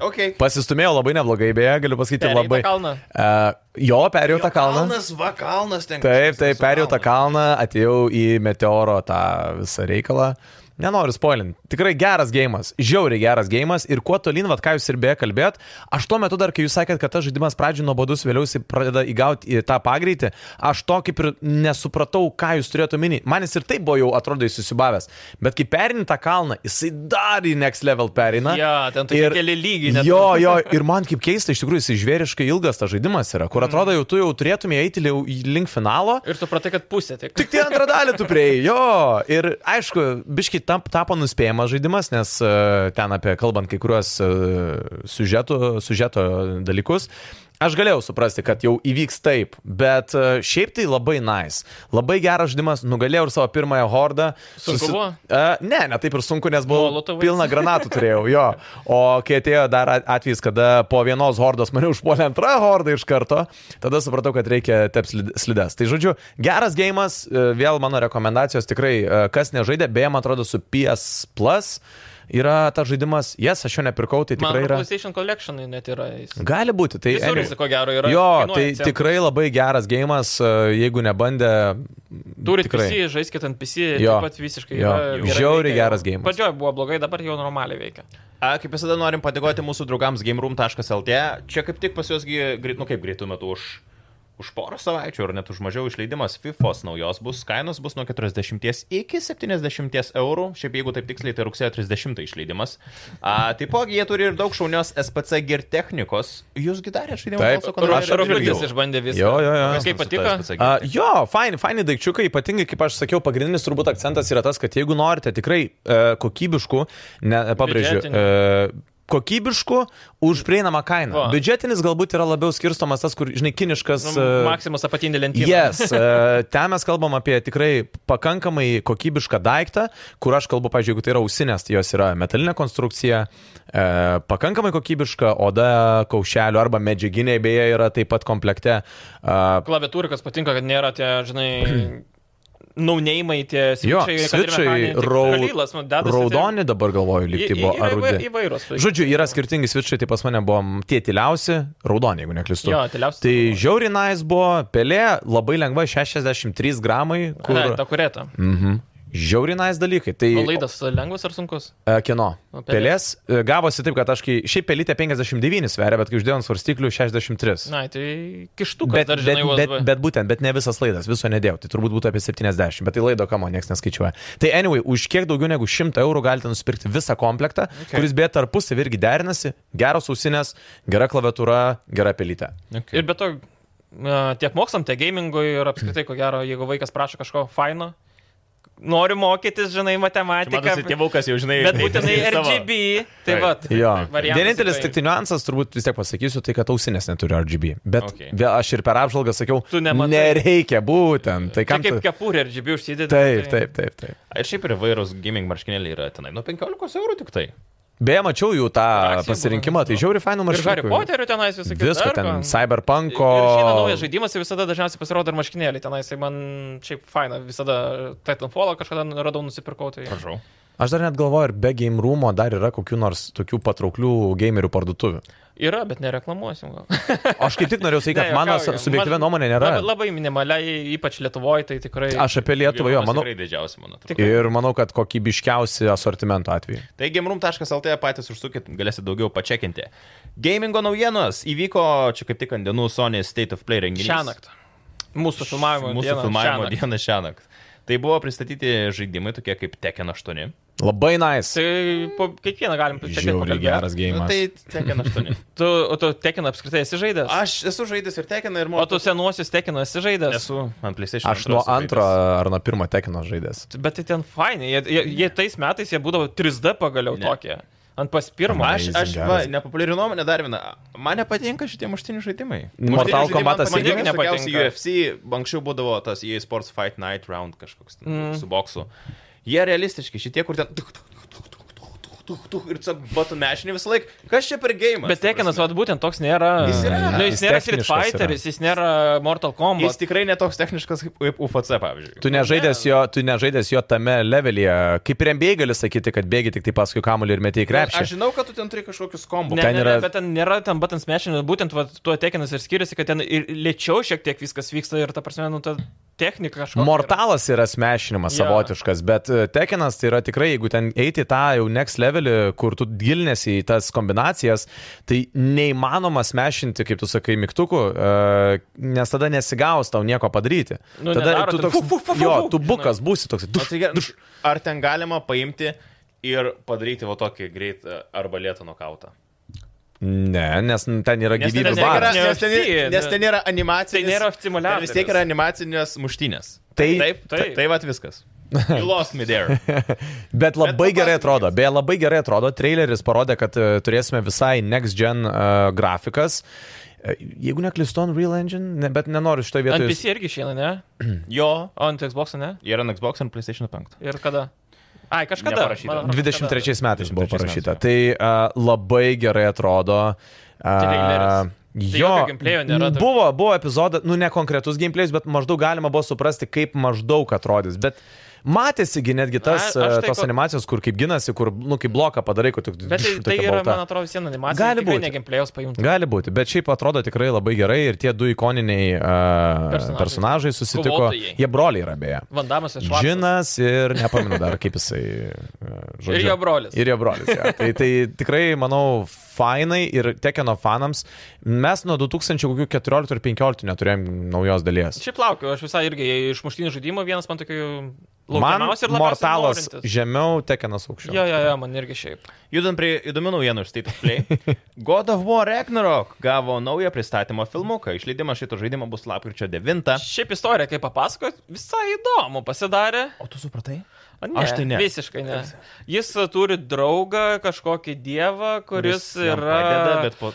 Speaker 1: Okay.
Speaker 2: Pasistumėjau labai neblogai, beje, galiu pasakyti
Speaker 4: Perėjai tą
Speaker 2: labai.
Speaker 4: kalną?
Speaker 2: Uh, jo, perėjau tą kalną.
Speaker 1: Kalnas, va, kalnas ten.
Speaker 2: Taip,
Speaker 1: kažkas
Speaker 2: taip,
Speaker 1: su
Speaker 2: perėjau tą
Speaker 1: kalnu.
Speaker 2: kalną, atėjau į meteoro tą visą reikalą. Nenoriu spoilint. Tikrai geras gėjimas, žiauriai geras gėjimas ir kuo tolyn, vad ką jūs ir beje kalbėt, aš tuo metu dar, kai jūs sakėt, kad tas žaidimas pradžio nuobodus, vėliau jis pradeda įgauti į tą pagreitį, aš to kaip ir nesupratau, ką jūs turėjote mini. Man jis ir taip buvo jau atrodo įsusibavęs, bet kai perini tą kalną, jisai dar į next level perina.
Speaker 4: Ja, ten tokie keli lygiai net.
Speaker 2: Jo, jo, ir man kaip keista, iš tikrųjų, jis žvėriškai ilgas tas žaidimas yra,
Speaker 4: Mm.
Speaker 2: kur atrodo jau tu jau turėtum eiti liau- link finalo,
Speaker 4: Ir supratai, kad pusė tik.
Speaker 2: Tik tie antrą dalį tu prieėjai, jo. Ir aišku, biškai tam tapo nuspėjamas žaidimas, nes e, ten apie kalbant kai kuriuos e, siužetų, siužeto dalykus. Aš galėjau suprasti, kad jau įvyks taip, bet e, šiaip tai labai nice. Labai geras žaidimas, nugalėjau ir savo pirmąją hordą.
Speaker 4: Sunku buvo?
Speaker 2: E, ne, ne taip ir sunku, nes buvau
Speaker 4: Molotovais?
Speaker 2: pilna granatų turėjau, jo. O kai atėjo dar at- atvejis, kada po vienos hordos mane užpuolė antra horda iš karto, tada supratau, kad reikia teps slides. Tai žodžiu, geras gėjimas, e, vėl mano rekomendacijos tikrai, e, kas nežaidė, beje, man atrodo, su PS Plus yra tas žaidimas, jas yes, aš jo nepirkau, tai
Speaker 4: Man
Speaker 2: tikrai
Speaker 4: atrodo,
Speaker 2: yra.
Speaker 4: PlayStation Collectionai net yra. jis.
Speaker 2: Gali būti, tai
Speaker 4: Visur
Speaker 2: anyway.
Speaker 4: jis, ko gero, yra.
Speaker 2: Jo,
Speaker 4: Kainuoja
Speaker 2: tai
Speaker 4: centų.
Speaker 2: tikrai labai geras gėjimas, e, jeigu nebandė.
Speaker 4: Turit
Speaker 2: tikrai.
Speaker 4: PC, žaiskit ant PC,
Speaker 2: Jo.
Speaker 4: taip pat visiškai.
Speaker 2: Jo.
Speaker 4: yra
Speaker 2: Jo.
Speaker 4: gerai
Speaker 2: Žiauriai
Speaker 4: veikia.
Speaker 2: geras geimas.
Speaker 4: Pradžioje buvo blogai, dabar jau normaliai veikia.
Speaker 1: A, kaip visada norim padėkoti mūsų draugams gameroom.lt. Čia kaip tik pas juos, greit, nu kaip greitų metų, už, už porą savaičių ar net už mažiau išleidimas FIFA naujos bus. Kainos bus nuo 40 iki 70 eurų. Šiaip jeigu taip tiksliai, tai rugsėjo 30 išleidimas. A, taipogi jie turi ir daug šaunios SPC gear technikos. Jūsgi darė žaidimą
Speaker 2: Taip,
Speaker 4: Aš
Speaker 2: Aš apžvelgiau.
Speaker 4: rūpintis išbandė viską.
Speaker 2: Jo, jo, jo.
Speaker 4: Kaip patiko?
Speaker 2: A, jo, faini, faini daikčiukai, ypatingai, kaip aš sakiau, pagrindinis turbūt akcentas yra tas, kad jeigu norite tikrai e, kokybiškų, ne, pabrėžiu, e,
Speaker 4: Biudžetinių.
Speaker 2: kokybiškų už prieinamą kainą.
Speaker 4: Va.
Speaker 2: Biudžetinis galbūt yra labiau skirstomas tas, kur, žinai, kiniškas.
Speaker 4: Nu,
Speaker 2: e,
Speaker 4: Maksimus apatinė lentynė.
Speaker 2: Yes, e, ten mes kalbam apie tikrai pakankamai kokybišką daiktą, kur aš kalbu, pažiūrėjau, jeigu tai yra ausinės, tai jos yra metalinė konstrukcija, e, pakankamai kokybiška, oda kaušelio arba medžiaginiai beje yra taip pat komplekte. E,
Speaker 4: Klaviatūra, kas patinka, kad nėra tie, žinai, naunėjimai, tie
Speaker 2: Jo,
Speaker 4: switchai, kad ir
Speaker 2: svičiai
Speaker 4: mechaniniai, tik kalylas, nu, dedasi, tai-
Speaker 2: raudoni dabar galvoju,
Speaker 4: Į-
Speaker 2: lyg tai
Speaker 4: į-
Speaker 2: buvo
Speaker 4: yra
Speaker 2: ar
Speaker 4: įvai-
Speaker 2: rudi.
Speaker 4: Įvairūs. tai-
Speaker 2: Žodžiu, yra skirtingi svičiai, tai pas mane buvo tie tyliausi, raudoni, jeigu neklystu.
Speaker 4: Jo, tyliausi
Speaker 2: Tai
Speaker 4: buvo.
Speaker 2: žiauri nais buvo, pelė labai lengva, 63 gramai, kur...
Speaker 4: Ne, ta kurėta.
Speaker 2: Mhm. Žiauri nais dalykai. Tai
Speaker 4: O laidas lengvas ar sunkus?
Speaker 2: E, Kieno?
Speaker 4: O, Nu, pelės.
Speaker 2: Pelės. E, Gavosi taip, kad aš kai šiaip pelytė 59 sveria, bet kai uždėjau ant svarstyklių 63.
Speaker 4: Na, tai kištukas
Speaker 2: Bet,
Speaker 4: dar
Speaker 2: bet,
Speaker 4: žinai,
Speaker 2: bet,
Speaker 4: USB.
Speaker 2: bet būtent, bet ne visas laidas, viso nedėjau, tai turbūt būtų apie 70, bet tai laido kamo, niekas neskaičiuoja. Tai anyway, už kiek daugiau negu 100 eurų galite nusipirkti visą komplektą, okay. kuris beje tarpusavį irgi derinasi, geros ausinės, gera klaviatūra, gera pelytė.
Speaker 4: Ir be to, e, tiek mokslam, tiek gamingui ir apskritai, ko gero, jeigu vaikas prašo kažko faino, nori mokytis, žinai,
Speaker 1: Matosi,
Speaker 4: matematiką.
Speaker 1: tėvukas jau žinai.
Speaker 4: Bet
Speaker 1: savo-
Speaker 4: būtinai RGB. Tai
Speaker 1: Taip.
Speaker 4: vad.
Speaker 2: Jo.
Speaker 4: variantas
Speaker 2: Vienintelis
Speaker 4: tikrai-
Speaker 2: tik tai niuansas, turbūt vis tiek pasakysiu, tai kad ausinės neturi RGB. Bet
Speaker 1: Okay.
Speaker 2: okay. vėl aš ir per apžvalgą sakiau,
Speaker 4: Tu nematai.
Speaker 2: nereikia būtent. Tai
Speaker 4: Čia
Speaker 2: kam
Speaker 4: kaip
Speaker 2: tu...
Speaker 4: kepurė RGB užsidėti.
Speaker 2: Taip, taip, taip, taip.
Speaker 1: Ir šiaip ir vairūs gaming marškinėliai yra tenai. Nuo 15 eurų tik tai.
Speaker 2: Beje, mačiau jų tą
Speaker 4: Akcijų
Speaker 2: pasirinkimą, tai
Speaker 4: buvo.
Speaker 2: žiauri fainų
Speaker 4: Ir Harry
Speaker 2: maršrutų.
Speaker 4: Potterio tenais visą kitą.
Speaker 2: Visko ten, Cyberpunko.
Speaker 4: Ir išeina naujas žaidimas ir visada dažniausiai pasirodo ir marškinėliai tenais, tai man šiaip faina, visada Titanfallą kažkada radau nusipirkau, tai
Speaker 1: Prašau.
Speaker 2: Aš dar net galvoju, ir be game roomo dar yra kokių nors tokių patrauklių gamerių parduotuvių.
Speaker 4: yra, bet nereklamuosim gal.
Speaker 2: Aš kaip tik norėjau sakyti, kad
Speaker 4: Ne,
Speaker 2: mano
Speaker 4: juokauju.
Speaker 2: subjektyvi
Speaker 4: Man-
Speaker 2: nuomonė nėra.
Speaker 4: Labai, labai minimaliai, ypač Lietuvoje, tai tikrai.
Speaker 2: Aš apie Lietuvą, jo, manau.
Speaker 1: Tai didžiausia, man atrodo.
Speaker 4: Tik-
Speaker 2: Ir manau, kad kokybiškiausi asortimento atveju.
Speaker 1: Tai gameroom.lt patys užsukit, galėsit daugiau pačekinti. Gamingo naujienos įvyko čia kaip tik ant dienų Sony State of Play renginys.
Speaker 4: šią naktį. Mūsų filmavimo
Speaker 1: Mūsų
Speaker 4: dieną.
Speaker 1: filmavimo
Speaker 4: šiąnakt.
Speaker 1: dieną šią naktį. Tai buvo pristatyti žaidimai tokie kaip Tekken 8.
Speaker 2: Labai nice.
Speaker 4: Tai po kiekvieną galim pačiakint
Speaker 2: Žiauri
Speaker 4: pakalbėt.
Speaker 2: geras
Speaker 1: Nu,
Speaker 2: gėjimas.
Speaker 1: tai Tekken 8.
Speaker 4: Tu, o tu tekin apskritai esi žaidęs?
Speaker 1: Aš esu žaidęs ir Tekken, ir
Speaker 4: O tu
Speaker 1: Mortal
Speaker 4: senuosius tekin esi žaidęs?
Speaker 1: Esu ant PlayStation.
Speaker 2: Aš nuo
Speaker 1: esu žaidęs.
Speaker 2: antro ar nuo pirmo tekino žaidęs.
Speaker 4: Bet tai ten fainai, jie, jie, jie tais metais jie būdavo 3D pagaliau
Speaker 1: Ne.
Speaker 4: tokie. Ant pas pirmo.
Speaker 1: Aš,
Speaker 2: Amazing
Speaker 1: aš va,
Speaker 2: geras.
Speaker 1: nepopuliarių nuomonę dar vieną. Man nepatinka šitie muštinių žaidimai.
Speaker 2: Mortal Kombatas
Speaker 1: man
Speaker 4: irgi
Speaker 1: irgi
Speaker 4: nepatinka.
Speaker 1: nepatinka. UFC, anksčiau būdavo tas EA Sports Fight Night Round kažkoks ten, mm. su boksu. Jie realistiški, šitie, kur ten... tuk, tuk, tuk, tuk, tuk, tuk, tuk, tuk, tuk, Ir tiesiog batų mešinį visą laiką. Kas čia per game?
Speaker 4: Bet Tekinas, vad būtent toks nėra.
Speaker 1: Jis yra.
Speaker 4: Nu, jis
Speaker 2: Jis
Speaker 4: nėra Street
Speaker 2: techniškas yra.
Speaker 4: Fighteris, jis nėra Mortal
Speaker 1: Jis
Speaker 4: Kombat.
Speaker 1: tikrai netoks techniškas kaip- kaip UFC, pavyzdžiui.
Speaker 4: Nu,
Speaker 2: Tu nežaidęs jo, tu nežaidęs jo tame levelyje. Kaip ir MBA gali sakyti, kad bėgi tik tai paskui kamuolį ir metėjai krepšį.
Speaker 1: Aš žinau, kad tu ten turi kažkokius kombus.
Speaker 4: Ne,
Speaker 2: ten
Speaker 4: ne, ne,
Speaker 2: yra-
Speaker 4: bet ten nėra ten button smashing, būtent vat, tuo Tekinas ir skiriasi, kad ten ir lėčiau šiek tiek viskas vyksta ir ta prasme, nu, ta technika kažkokia. yra.
Speaker 2: Mortalas yra smešinimas
Speaker 4: Nu, Jo.
Speaker 2: savotiškas, bet e, Tekinas tai yra tikrai, jeigu ten eiti į tą jau next levelį, kur tu gilinėsi į tas kombinacijas, tai neįmanoma smešinti, kaip tu sakai, mygtukų, e, nes tada nesigaus tau nieko padaryti.
Speaker 4: Nu,
Speaker 2: tada
Speaker 4: nedaro
Speaker 2: tu toks,
Speaker 4: ten fu, fu, fu, fu,
Speaker 2: jo,
Speaker 4: fu,
Speaker 2: tu
Speaker 4: žinai.
Speaker 2: bukas būsi toks.
Speaker 1: O
Speaker 2: Duš,
Speaker 1: tai gerai, Ar ten galima paimti ir padaryti va tokį greitą arba lėtą nokautą?
Speaker 2: ne, nes n, ten yra
Speaker 1: Nes ten,
Speaker 2: gyvybių
Speaker 1: nėra-
Speaker 2: baras.
Speaker 4: Ne
Speaker 1: nes, ten,
Speaker 4: UFC,
Speaker 1: nes
Speaker 4: ne.
Speaker 1: ten nėra animacinės.
Speaker 4: Tai nėra simuliatorius.
Speaker 1: ten Vis tiek yra animacinės muštynės.
Speaker 2: Tai,
Speaker 4: Taip, taip.
Speaker 1: Tai vad viskas. You lost me there.
Speaker 2: Bet labai
Speaker 1: papasakokit.
Speaker 2: gerai atrodo, beje, labai gerai atrodo, traileris parodė, kad e, turėsime visai next gen uh, grafikas. E, Jeigu neklystu, Unreal Engine, ne, bet nenoriu šitoje
Speaker 4: Ant
Speaker 2: vietoje.
Speaker 4: PC irgi išeina, ne?
Speaker 1: Jo,
Speaker 4: O ant Xbox, ne?
Speaker 1: yra ant Xbox ir PlayStation 5.
Speaker 4: Ir kada? Ai, kažkada.
Speaker 1: Neparašyta.
Speaker 4: man atrodo, kažkada.
Speaker 2: 23 metais buvo
Speaker 1: 23
Speaker 2: parašyta.
Speaker 1: metais,
Speaker 2: Tai uh, labai gerai atrodo. Uh,
Speaker 4: traileris. Tai
Speaker 2: Jo,
Speaker 4: jokio gameplayo nėra tokio.
Speaker 2: buvo, buvo epizodas, nu ne konkretus gameplayus, bet maždaug galima buvo suprasti, kaip maždaug atrodys. Bet matėsigi netgi tas,
Speaker 4: Na, aš
Speaker 2: A,
Speaker 4: tai
Speaker 2: tos
Speaker 4: ko-
Speaker 2: animacijos, kur kaip ginasi, kur, nu, kaip bloką padarai, kur tik...
Speaker 4: Bet tai,
Speaker 2: duš,
Speaker 4: tai
Speaker 2: tokia
Speaker 4: yra,
Speaker 2: balta.
Speaker 4: man atrodo, visien animacija.
Speaker 2: Gali
Speaker 4: Tikrai
Speaker 2: būti.
Speaker 4: Ne gameplayos paimti.
Speaker 2: Gali būti, bet šiaip atrodo tikrai labai gerai ir tie du ikoniniai uh,
Speaker 4: Personažai.
Speaker 2: personažai. personažai susitiko.
Speaker 4: Kovotojai.
Speaker 2: Jie broliai yra beje.
Speaker 4: Vandamas ir Švaras.
Speaker 2: Džinas ir nepamenu dar, kaip jisai. e, Žodžiu.
Speaker 4: Ir jo brolis.
Speaker 2: Ir jo brolis. Ja. Tai, tai tikrai, manau, fainai ir tekeno fanams. Mes nuo 2014 ir 2015 neturėjom naujos dalies.
Speaker 4: Šiaip laukiu, aš visai irgi iš muštinių žaidimų vienas man tokių
Speaker 2: Man
Speaker 4: Laukiamiausi ir labiausiai
Speaker 2: Mortalas
Speaker 4: norintis.
Speaker 2: žemiau, Tekenas aukščiau.
Speaker 4: Jo, jo, jo, man irgi šiaip.
Speaker 1: Judant prie įdomių naujienų iš State of Play. God of War Ragnarok gavo naują pristatymo filmuką. Išleidimas šito žaidimo bus lapkričio 9.
Speaker 4: Šiaip istorija, kaip papasakot, visai įdomu pasidarė.
Speaker 1: O tu supratai?
Speaker 4: A,
Speaker 1: Aš tai ne.
Speaker 4: Visiškai ne. Jis uh, turi draugą, kažkokį dievą, kuris, kuris
Speaker 1: jam
Speaker 4: yra...
Speaker 1: Padeda, bet po,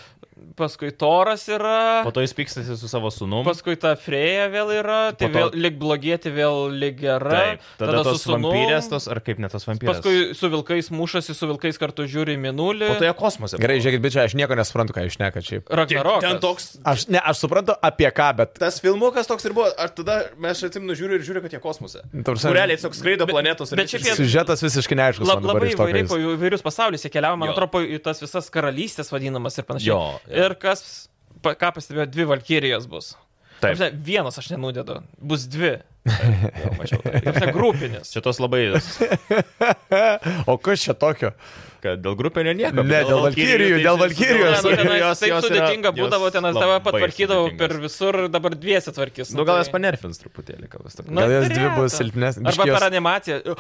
Speaker 4: Paskui Toras yra.
Speaker 1: po to jis pykstasi su savo sunum.
Speaker 4: Paskui ta Freja vėl yra,
Speaker 1: Po
Speaker 4: tai
Speaker 1: to-
Speaker 4: vėl lik blogieti, vėl lik gera.
Speaker 1: Taip, tada, tada tos
Speaker 4: su sūnum,
Speaker 1: vampyrės, tos, ar kaip ne tos vampyrės.
Speaker 4: Paskui su vilkais mušasi, su vilkais kartu žiūri į minulį.
Speaker 1: Po to jie kosmose.
Speaker 2: Gerai, žiūrėkit, bičiai, aš nieko nesuprantu, ką jūs nekat šiaip.
Speaker 4: Ragnarokas.
Speaker 1: Ten toks.
Speaker 2: Aš, ne, aš suprantu apie ką, bet...
Speaker 1: Tas filmukas toks ir buvo, ar tada mes aš atsiminu žiūriu ir žiūriu, kad jie kosmose.
Speaker 2: Ta prasme-
Speaker 1: Kureliai tiesiog skraido planetos. ir
Speaker 4: bet šiaip jie-
Speaker 2: Siužetas visiškai neaiškus.
Speaker 4: Lab,
Speaker 2: man dabar
Speaker 4: labai
Speaker 2: iš to, ką
Speaker 4: įvairiai
Speaker 2: jūs-
Speaker 4: po įvairius pasaulius jie keliavo, man
Speaker 1: Jo.
Speaker 4: atrodo, po į tas visas karalystės vadinamas ir panašiai.
Speaker 1: Jo, jo.
Speaker 4: Ir kas, pa, ką pastebėjo, dvi Valkyrijos bus. Ta
Speaker 1: Taip.
Speaker 4: prasme, Vienas aš nenudedu, bus dvi. Jau mačiau tą. Ta prasme, Grupinis.
Speaker 1: Šitos labai,
Speaker 2: O kas čia tokio?
Speaker 1: kad dėl grupinio nieko.
Speaker 2: Ne,
Speaker 1: bet
Speaker 2: dėl Valkyrijų,
Speaker 1: tai
Speaker 2: dėl
Speaker 1: čia- Nu,
Speaker 2: Valkyrijos.
Speaker 4: Ten,
Speaker 1: ne, nu,
Speaker 4: ten,
Speaker 1: jos-
Speaker 4: taip
Speaker 1: jos yra-
Speaker 4: sudėtinga
Speaker 1: jos
Speaker 4: būdavo, ten tavo
Speaker 1: labai
Speaker 4: patvarkydavau
Speaker 1: sudėtingos.
Speaker 4: per visur, dabar dviesi tvarkys.
Speaker 1: Nu gal jas
Speaker 4: tai-
Speaker 1: panerfins truputėlį, gal jas
Speaker 4: Nu,
Speaker 1: truputėlį.
Speaker 2: Gal jos
Speaker 4: turėtų.
Speaker 2: dvi bus silpnesnės?
Speaker 4: Arba
Speaker 2: Biškį jos-
Speaker 4: per animaciją. Uh,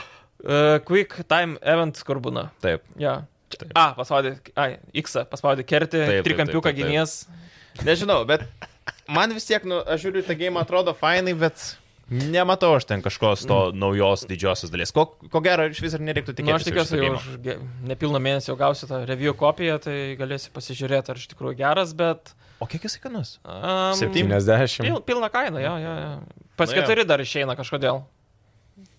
Speaker 4: quick time event, kur būna.
Speaker 1: Taip.
Speaker 4: Ja. A, paspaudė, ai, X, paspaudė kerti,
Speaker 1: taip, taip,
Speaker 4: trikampiuką
Speaker 1: taip, taip.
Speaker 4: gynies.
Speaker 1: Nežinau, bet man vis tiek, nu, aš žiūriu, ta game atrodo fainai, bet nematau aš ten kažkos to naujos didžiosios dalies. Ko, ko gero, iš vis ar nereiktų
Speaker 4: Na, nu,
Speaker 1: tikėtis.
Speaker 4: aš
Speaker 1: iš
Speaker 4: tikiuosi,
Speaker 1: šito
Speaker 4: jau
Speaker 1: geimo.
Speaker 4: už ge- nepilną mėnesį jau gausiu tą review kopiją, tai galėsiu pasižiūrėti, ar iš tikrųjų geras, bet...
Speaker 1: O kiek jis kainuos?
Speaker 4: Um,
Speaker 1: Septyni.
Speaker 2: 70.
Speaker 4: Pil, pilna kaina, jo, jo, jo. Pas
Speaker 1: Nu,
Speaker 4: nu,
Speaker 1: jo.
Speaker 4: keturi dar išeina kažkodėl.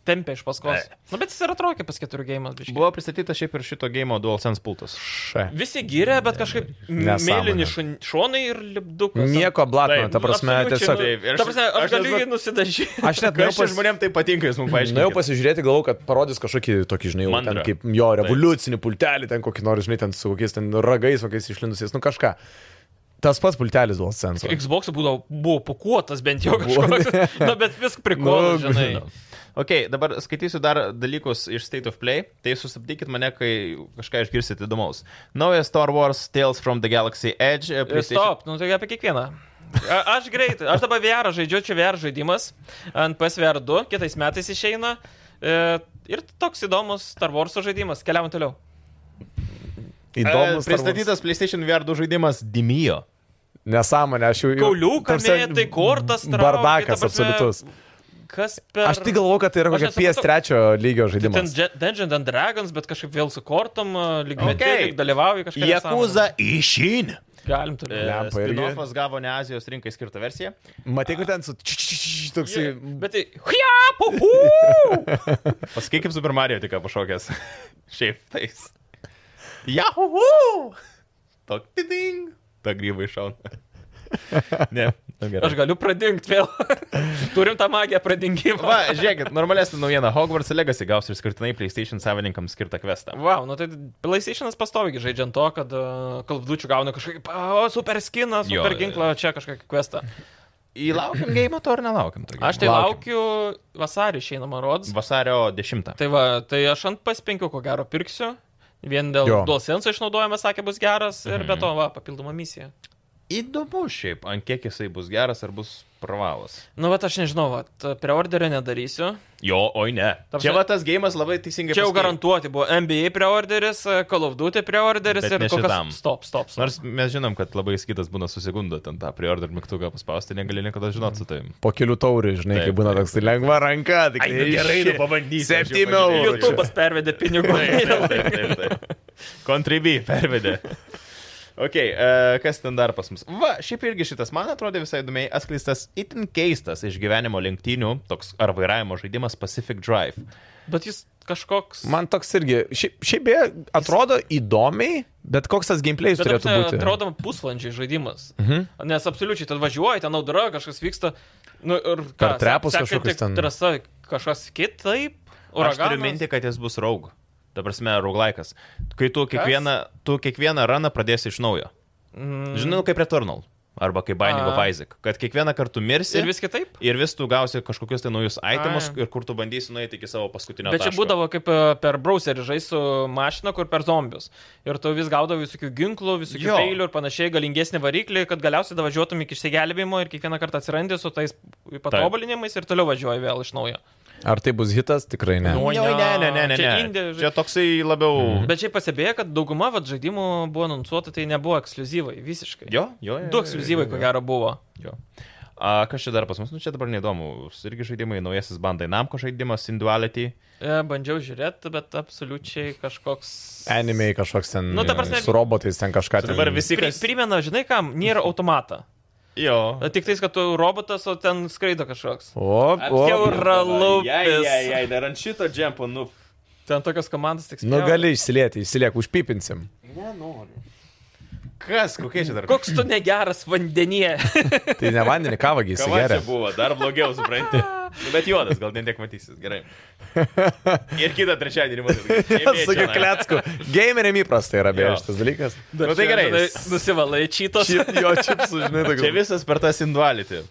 Speaker 4: Tempia iš paskos.
Speaker 1: Ne.
Speaker 4: Na, nu, bet jis yra trokė pas keturi gėjimas, bičiuli.
Speaker 1: Buvo pristatytas šiaip ir šito game DualSense pultas.
Speaker 2: Še.
Speaker 4: Visi gyrė, bet kažkaip
Speaker 2: Nesąmonė.
Speaker 4: mėlyni šun- šonai ir lipdukas.
Speaker 2: Nieko blatno,
Speaker 1: Taip,
Speaker 2: ta prasme,
Speaker 4: Absoliučiai,
Speaker 2: tiesiog...
Speaker 1: Taip, ir
Speaker 4: Nu,
Speaker 1: aš-
Speaker 4: ta prasme,
Speaker 1: aš
Speaker 4: aš galiu
Speaker 1: nežinau-
Speaker 4: jį nusidažyti.
Speaker 2: Aš net
Speaker 1: Ką
Speaker 2: nuėjau
Speaker 1: čia
Speaker 2: pas...
Speaker 1: žmonėms tai patinka, jūs mums
Speaker 2: Nuėjau
Speaker 1: paaiškinote?
Speaker 2: pasižiūrėti, galvojau, kad parodys kažkokį tokį, žinai, jau ten
Speaker 1: Mandrą.
Speaker 2: kaip jo revoliucinį pultelį, ten kokį nors, žinai, ten su kokiais ten ragais, kokiais išlindusiais, nu kažką. Tas pats pultelis duos sensą.
Speaker 4: Xbox būdavo, buvo pakuotas bent jau kažkoks. Na, bet viskas prikuotas,
Speaker 2: Nu,
Speaker 4: žinai.
Speaker 2: žinau.
Speaker 1: Ok, dabar skaitysiu dar dalykus iš State of Play, tai sustabdykit mane, kai kažką išgirsit įdomaus. Naujas Star Wars Tales from the Galaxy Edge. eh,
Speaker 4: Ir
Speaker 1: PlayStation-
Speaker 4: Stop, nu tai apie kiekvieną. A, aš greit, aš dabar VR žaidžiu, čia VR žaidimas, ant PSVR 2, kitais metais išeina. E, ir toks įdomus Star Wars žaidimas, keliavam toliau.
Speaker 1: Eh, e,
Speaker 2: Įdomus.
Speaker 1: Pristatytas PlayStation VR 2 žaidimas Dimio.
Speaker 2: Nesąmonė, aš jau... jau- ta
Speaker 4: Kauliuką,
Speaker 2: prasme,
Speaker 4: mėtai, kortas, trauki,
Speaker 2: Bardakas
Speaker 4: ta prasme,
Speaker 2: absoliutus.
Speaker 4: Kas per...
Speaker 2: Aš tik galvoju, kad tai yra
Speaker 4: Aš
Speaker 2: kokia
Speaker 4: nesupratau.
Speaker 2: PS3 lygio
Speaker 4: Ten
Speaker 2: žaidimas.
Speaker 4: Dž- Dungeons and Dragons, bet kažkaip vėl su kortom, e, lyg okay.
Speaker 1: Okay.
Speaker 4: metai, lyg dalyvauju kažkaip.
Speaker 1: Jakuza Ishin.
Speaker 4: Galim toliau.
Speaker 2: Lempa irgi.
Speaker 1: Spinofas E, gavo ne Azijos rinkai skirtą versiją.
Speaker 2: Matai, kad ten su... č- č- č- Toksai...
Speaker 4: Jo, Bet tai... Hia, puhu!
Speaker 1: Pasakyk kaip Super Mario tik ką pašokęs. Šiaip tais. Jahuhu! Tok tiding. Ta gryba iššauna. Ne, nu gerai.
Speaker 4: Aš galiu pradingti vėl. Turim tą magiją pradingimą.
Speaker 1: Va, žiūrėkit, normalesnė naujiena. Hogwarts Legacy gaus išskirtinai PlayStation savininkams skirtą questą.
Speaker 4: Wow, nu tai PlayStation'as pastoviai žaidžiant to, kad uh, kalbdučių gauna kažkokį, o, super skiną,
Speaker 1: Jo, e,
Speaker 4: super
Speaker 1: jo.
Speaker 4: ginklą, čia kažkokį questą.
Speaker 1: Įlaukiam game to ar nelaukiam? to
Speaker 4: Aš tai
Speaker 2: Laukiam.
Speaker 4: laukiu vasarį išeina, man rodos.
Speaker 1: game? Vasario 10.
Speaker 4: Tai va, tai aš ant PS5 ko gero pirksiu. Vien dėl
Speaker 2: Jo.
Speaker 4: DualSense išnaudojimas, sakė, bus geras ir
Speaker 1: Mhm.
Speaker 4: be to, va, papildoma misija.
Speaker 1: Įdomu šiaip, ant kiek jisai bus geras ar bus pravalas.
Speaker 4: Nu, va, aš nežinau, va, preorderio nedarysiu.
Speaker 1: Jo, oi ne.
Speaker 4: Ta
Speaker 1: Čia
Speaker 4: prasme-
Speaker 1: va tas gėjimas labai teisingai.
Speaker 4: Čia jau
Speaker 1: pasakei.
Speaker 4: garantuoti buvo NBA preorderis, e, Call of Duty preorderis
Speaker 1: Bet
Speaker 4: ir
Speaker 1: ne
Speaker 4: kol
Speaker 1: šitam.
Speaker 4: kas. Stop, stop, stop.
Speaker 1: Nors mes žinom, kad labai kitas būna susigundo ten tą preorder mygtuką paspausti, negali niekada žinot su tavim.
Speaker 2: Po kelių taurių, žinai,
Speaker 1: Taip,
Speaker 2: kai būna
Speaker 1: taip.
Speaker 2: toks lengva ranka. tik tai iš-
Speaker 1: pabandysiu.
Speaker 2: Septynių eurų čia.
Speaker 4: YouTube'as pervedė pinigų.
Speaker 1: Kontribį pervedė. Ok, uh, kas ten dar pas mus? Va, šiaip irgi šitas, man atrodo visai įdomiai atskleistas, itin keistas iš gyvenimo lenktynių, toks ar vairavimo žaidimas Pacific Drive.
Speaker 4: Bet jis kažkoks...
Speaker 2: Man toks irgi, šiaip, šiaip beje, atrodo įdomiai, bet koks tas gameplay'is
Speaker 4: Bet e,
Speaker 2: turėtų būti.
Speaker 4: Atrodo, pusvalandžiai žaidimas. Mhm. Nes absoliučiai ten važiuoji, ten audra, kažkas vyksta. Nu, ir ką,
Speaker 2: Per trepus
Speaker 4: sek- sekanti
Speaker 2: kažkokius ten.
Speaker 4: Trasa kažkas kitaip.
Speaker 1: Aš turiu
Speaker 4: Uraganas.
Speaker 1: minti, kad jis bus raug. Ta prasme, rauglaikas. Kai tu kiekvieną, tu kiekvieną raną pradėsi iš naujo.
Speaker 4: Mm,
Speaker 1: Žinau, kaip Returnal. Arba kaip Binding of
Speaker 4: A.
Speaker 1: Isaac. Kad kiekvieną kartą mirsi
Speaker 4: ir vis kitaip.
Speaker 1: ir vis tu gausi kažkokius tai naujus itemus
Speaker 4: Ai.
Speaker 1: ir kur tu bandysi nueiti iki savo paskutinio.
Speaker 4: Bet čia
Speaker 1: taško.
Speaker 4: būdavo kaip e, per browserį žaisti su mašina, kur per zombius. Ir tu vis gaudavo visokių ginklų, visokių
Speaker 1: Jo.
Speaker 4: peilių ir panašiai, galingesnį variklį, kad galiausiai davažiuotum iki išsigelbėjimo ir kiekvieną kartą atsirandi su tais patobulinimais ir toliau važiuoji vėl iš naujo.
Speaker 2: Ar tai bus hitas? Tikrai ne. Mm.
Speaker 4: Nu,
Speaker 1: Oi, ne, ne, ne, ne, ne.
Speaker 4: Čia
Speaker 1: Čia,
Speaker 4: indie žai-
Speaker 1: čia toksai labiau...
Speaker 4: Bet šiaip pastebėjau, kad dauguma vat, žaidimų buvo anonsuota, tai nebuvo ekskluzyvai visiškai.
Speaker 1: Jo, jo. jo,
Speaker 4: Du
Speaker 1: jo,
Speaker 4: ekskluzyvai,
Speaker 1: jo,
Speaker 4: ko
Speaker 1: jo.
Speaker 4: gero, buvo.
Speaker 1: Jo. A, kas čia dar pas mus? Nu, čia dabar neįdomu. Irgi žaidimai, naujasis bandai Namko žaidimas, Sinduality.
Speaker 4: E, Bandžiau žiūrėti, bet absoliučiai kažkoks...
Speaker 2: Anime kažkoks ten.
Speaker 4: Nu, ta prasme-
Speaker 2: Su robotais ten kažką.
Speaker 1: Tai
Speaker 2: Ten...
Speaker 1: dabar visi,
Speaker 4: Pri,
Speaker 1: kas...
Speaker 4: primena, žinai kam, nėra automata. E,
Speaker 1: Jo.
Speaker 4: Tik tais, kad tu robotas, o ten skraido kažkoks.
Speaker 2: O, o.
Speaker 4: Keuralupis.
Speaker 1: jei, dar ant šito džempo, nu.
Speaker 4: Ten tokios komandos tik
Speaker 2: Nu
Speaker 4: spjauna.
Speaker 2: gali išsilieti, išsiliek, užpipinsim.
Speaker 1: Nenoriu. Kas, kokie čia dar?
Speaker 4: Koks tu negeras vandenyje.
Speaker 2: Tai ne vandenį, kavą jis
Speaker 1: Kava
Speaker 2: geria.
Speaker 1: čia buvo, dar blogiau, supranti. Nu, bet juodas, gal net tiek matysis, gerai. Ir kitą trečiadienį matysis.
Speaker 2: Sakiau, klecku. Gameriam įprasta yra beje
Speaker 1: Jo.
Speaker 2: šitas dalykas.
Speaker 1: Na nu, tai gerai.
Speaker 4: Žinai, Nusivalai čytos.
Speaker 2: Čip, jo čipsų, žinai,
Speaker 1: Čia
Speaker 2: tokių.
Speaker 1: visas per tą sinduality.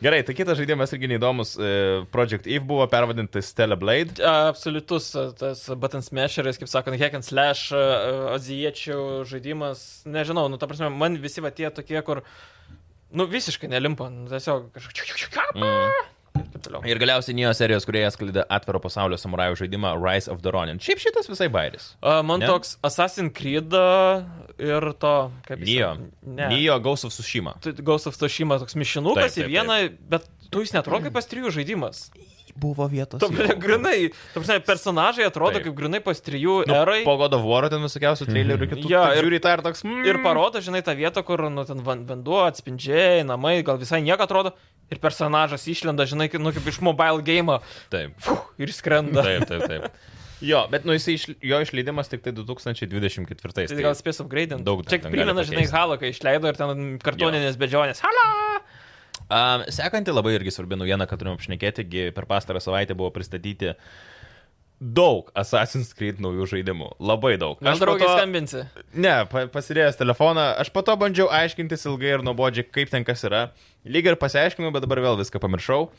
Speaker 1: Gerai, tai kitas žaidimas irgi neįdomus. e, Project Eve buvo pervadintas Teleblade.
Speaker 4: Absoliutus e, tas button smasheris, kaip sakant, hack and slash, e, e, azijiečių žaidimas. Nežinau, nu ta prasme, man visi va tie tokie, kur, nu visiškai nelimpa, nu, tiesiog kažkokia. Mm. Ir taip toliau.
Speaker 1: Ir galiausiai Nijo serijos, kurie atskleidė atviro pasaulio samurajų žaidimą Rise of the Ronin. Šiaip šitas visai bairis.
Speaker 4: A, Man
Speaker 1: Ne?
Speaker 4: ne? toks Assassin's Creed ir to, kaip jis-
Speaker 1: Nijo.
Speaker 4: Ne.
Speaker 1: Nijo Ghost of Sushima.
Speaker 4: Tu- Ghost of Toshima toks mišinukas
Speaker 1: Taip,
Speaker 4: į
Speaker 1: taip,
Speaker 4: vieną, bet tu jis netrodo kaip pastrijų žaidimas.
Speaker 1: Buvo vietos.
Speaker 4: Tam grinai, tam prasme, personažai atrodo
Speaker 1: Taip.
Speaker 4: kaip grinai pastrijų
Speaker 1: Nu,
Speaker 4: erai.
Speaker 1: po God of War ten visokiausių
Speaker 2: Mhm.
Speaker 1: trailerių ir kitų.
Speaker 4: Jo,
Speaker 1: taip
Speaker 4: ir-
Speaker 1: žiūri į tą ir toks. Mm,
Speaker 4: Ir parodo, žinai, tą vietą, kur, nu, ten van- vanduo, atspindžiai, namai, gal visai nieko atrodo. Ir personažas išlenda, žinai, kaip- nu, kaip iš mobile game
Speaker 1: Taip.
Speaker 4: ir skrenda.
Speaker 1: Taip, taip, taip. Jo, bet nu, jisai iš, jo išleidimas tik tai 2024.
Speaker 4: Tai gal spės upgraidinti.
Speaker 1: Daug dar
Speaker 4: Čia
Speaker 1: ten
Speaker 4: primena,
Speaker 1: gali
Speaker 4: žinai,
Speaker 1: pakeisti. Halo.
Speaker 4: Halo, kai išleido ir ten kartoninės bedžionės. Halo!
Speaker 1: Um, sekanti labai irgi svarbi naujiena, kad turim apšnekėti, gi per pastarą savaitę buvo pristatyti daug Assassin's Creed naujų žaidimų. Labai daug.
Speaker 4: Gal
Speaker 1: po
Speaker 4: draugai
Speaker 1: to-
Speaker 4: skambinsi?
Speaker 1: Ne, pa, pasidėjęs telefoną, aš po to bandžiau aiškintis ilgai ir nuobodžiai, kaip ten kas yra. Lyg ir pasiaiškinau, bet dabar vėl viską pamiršau.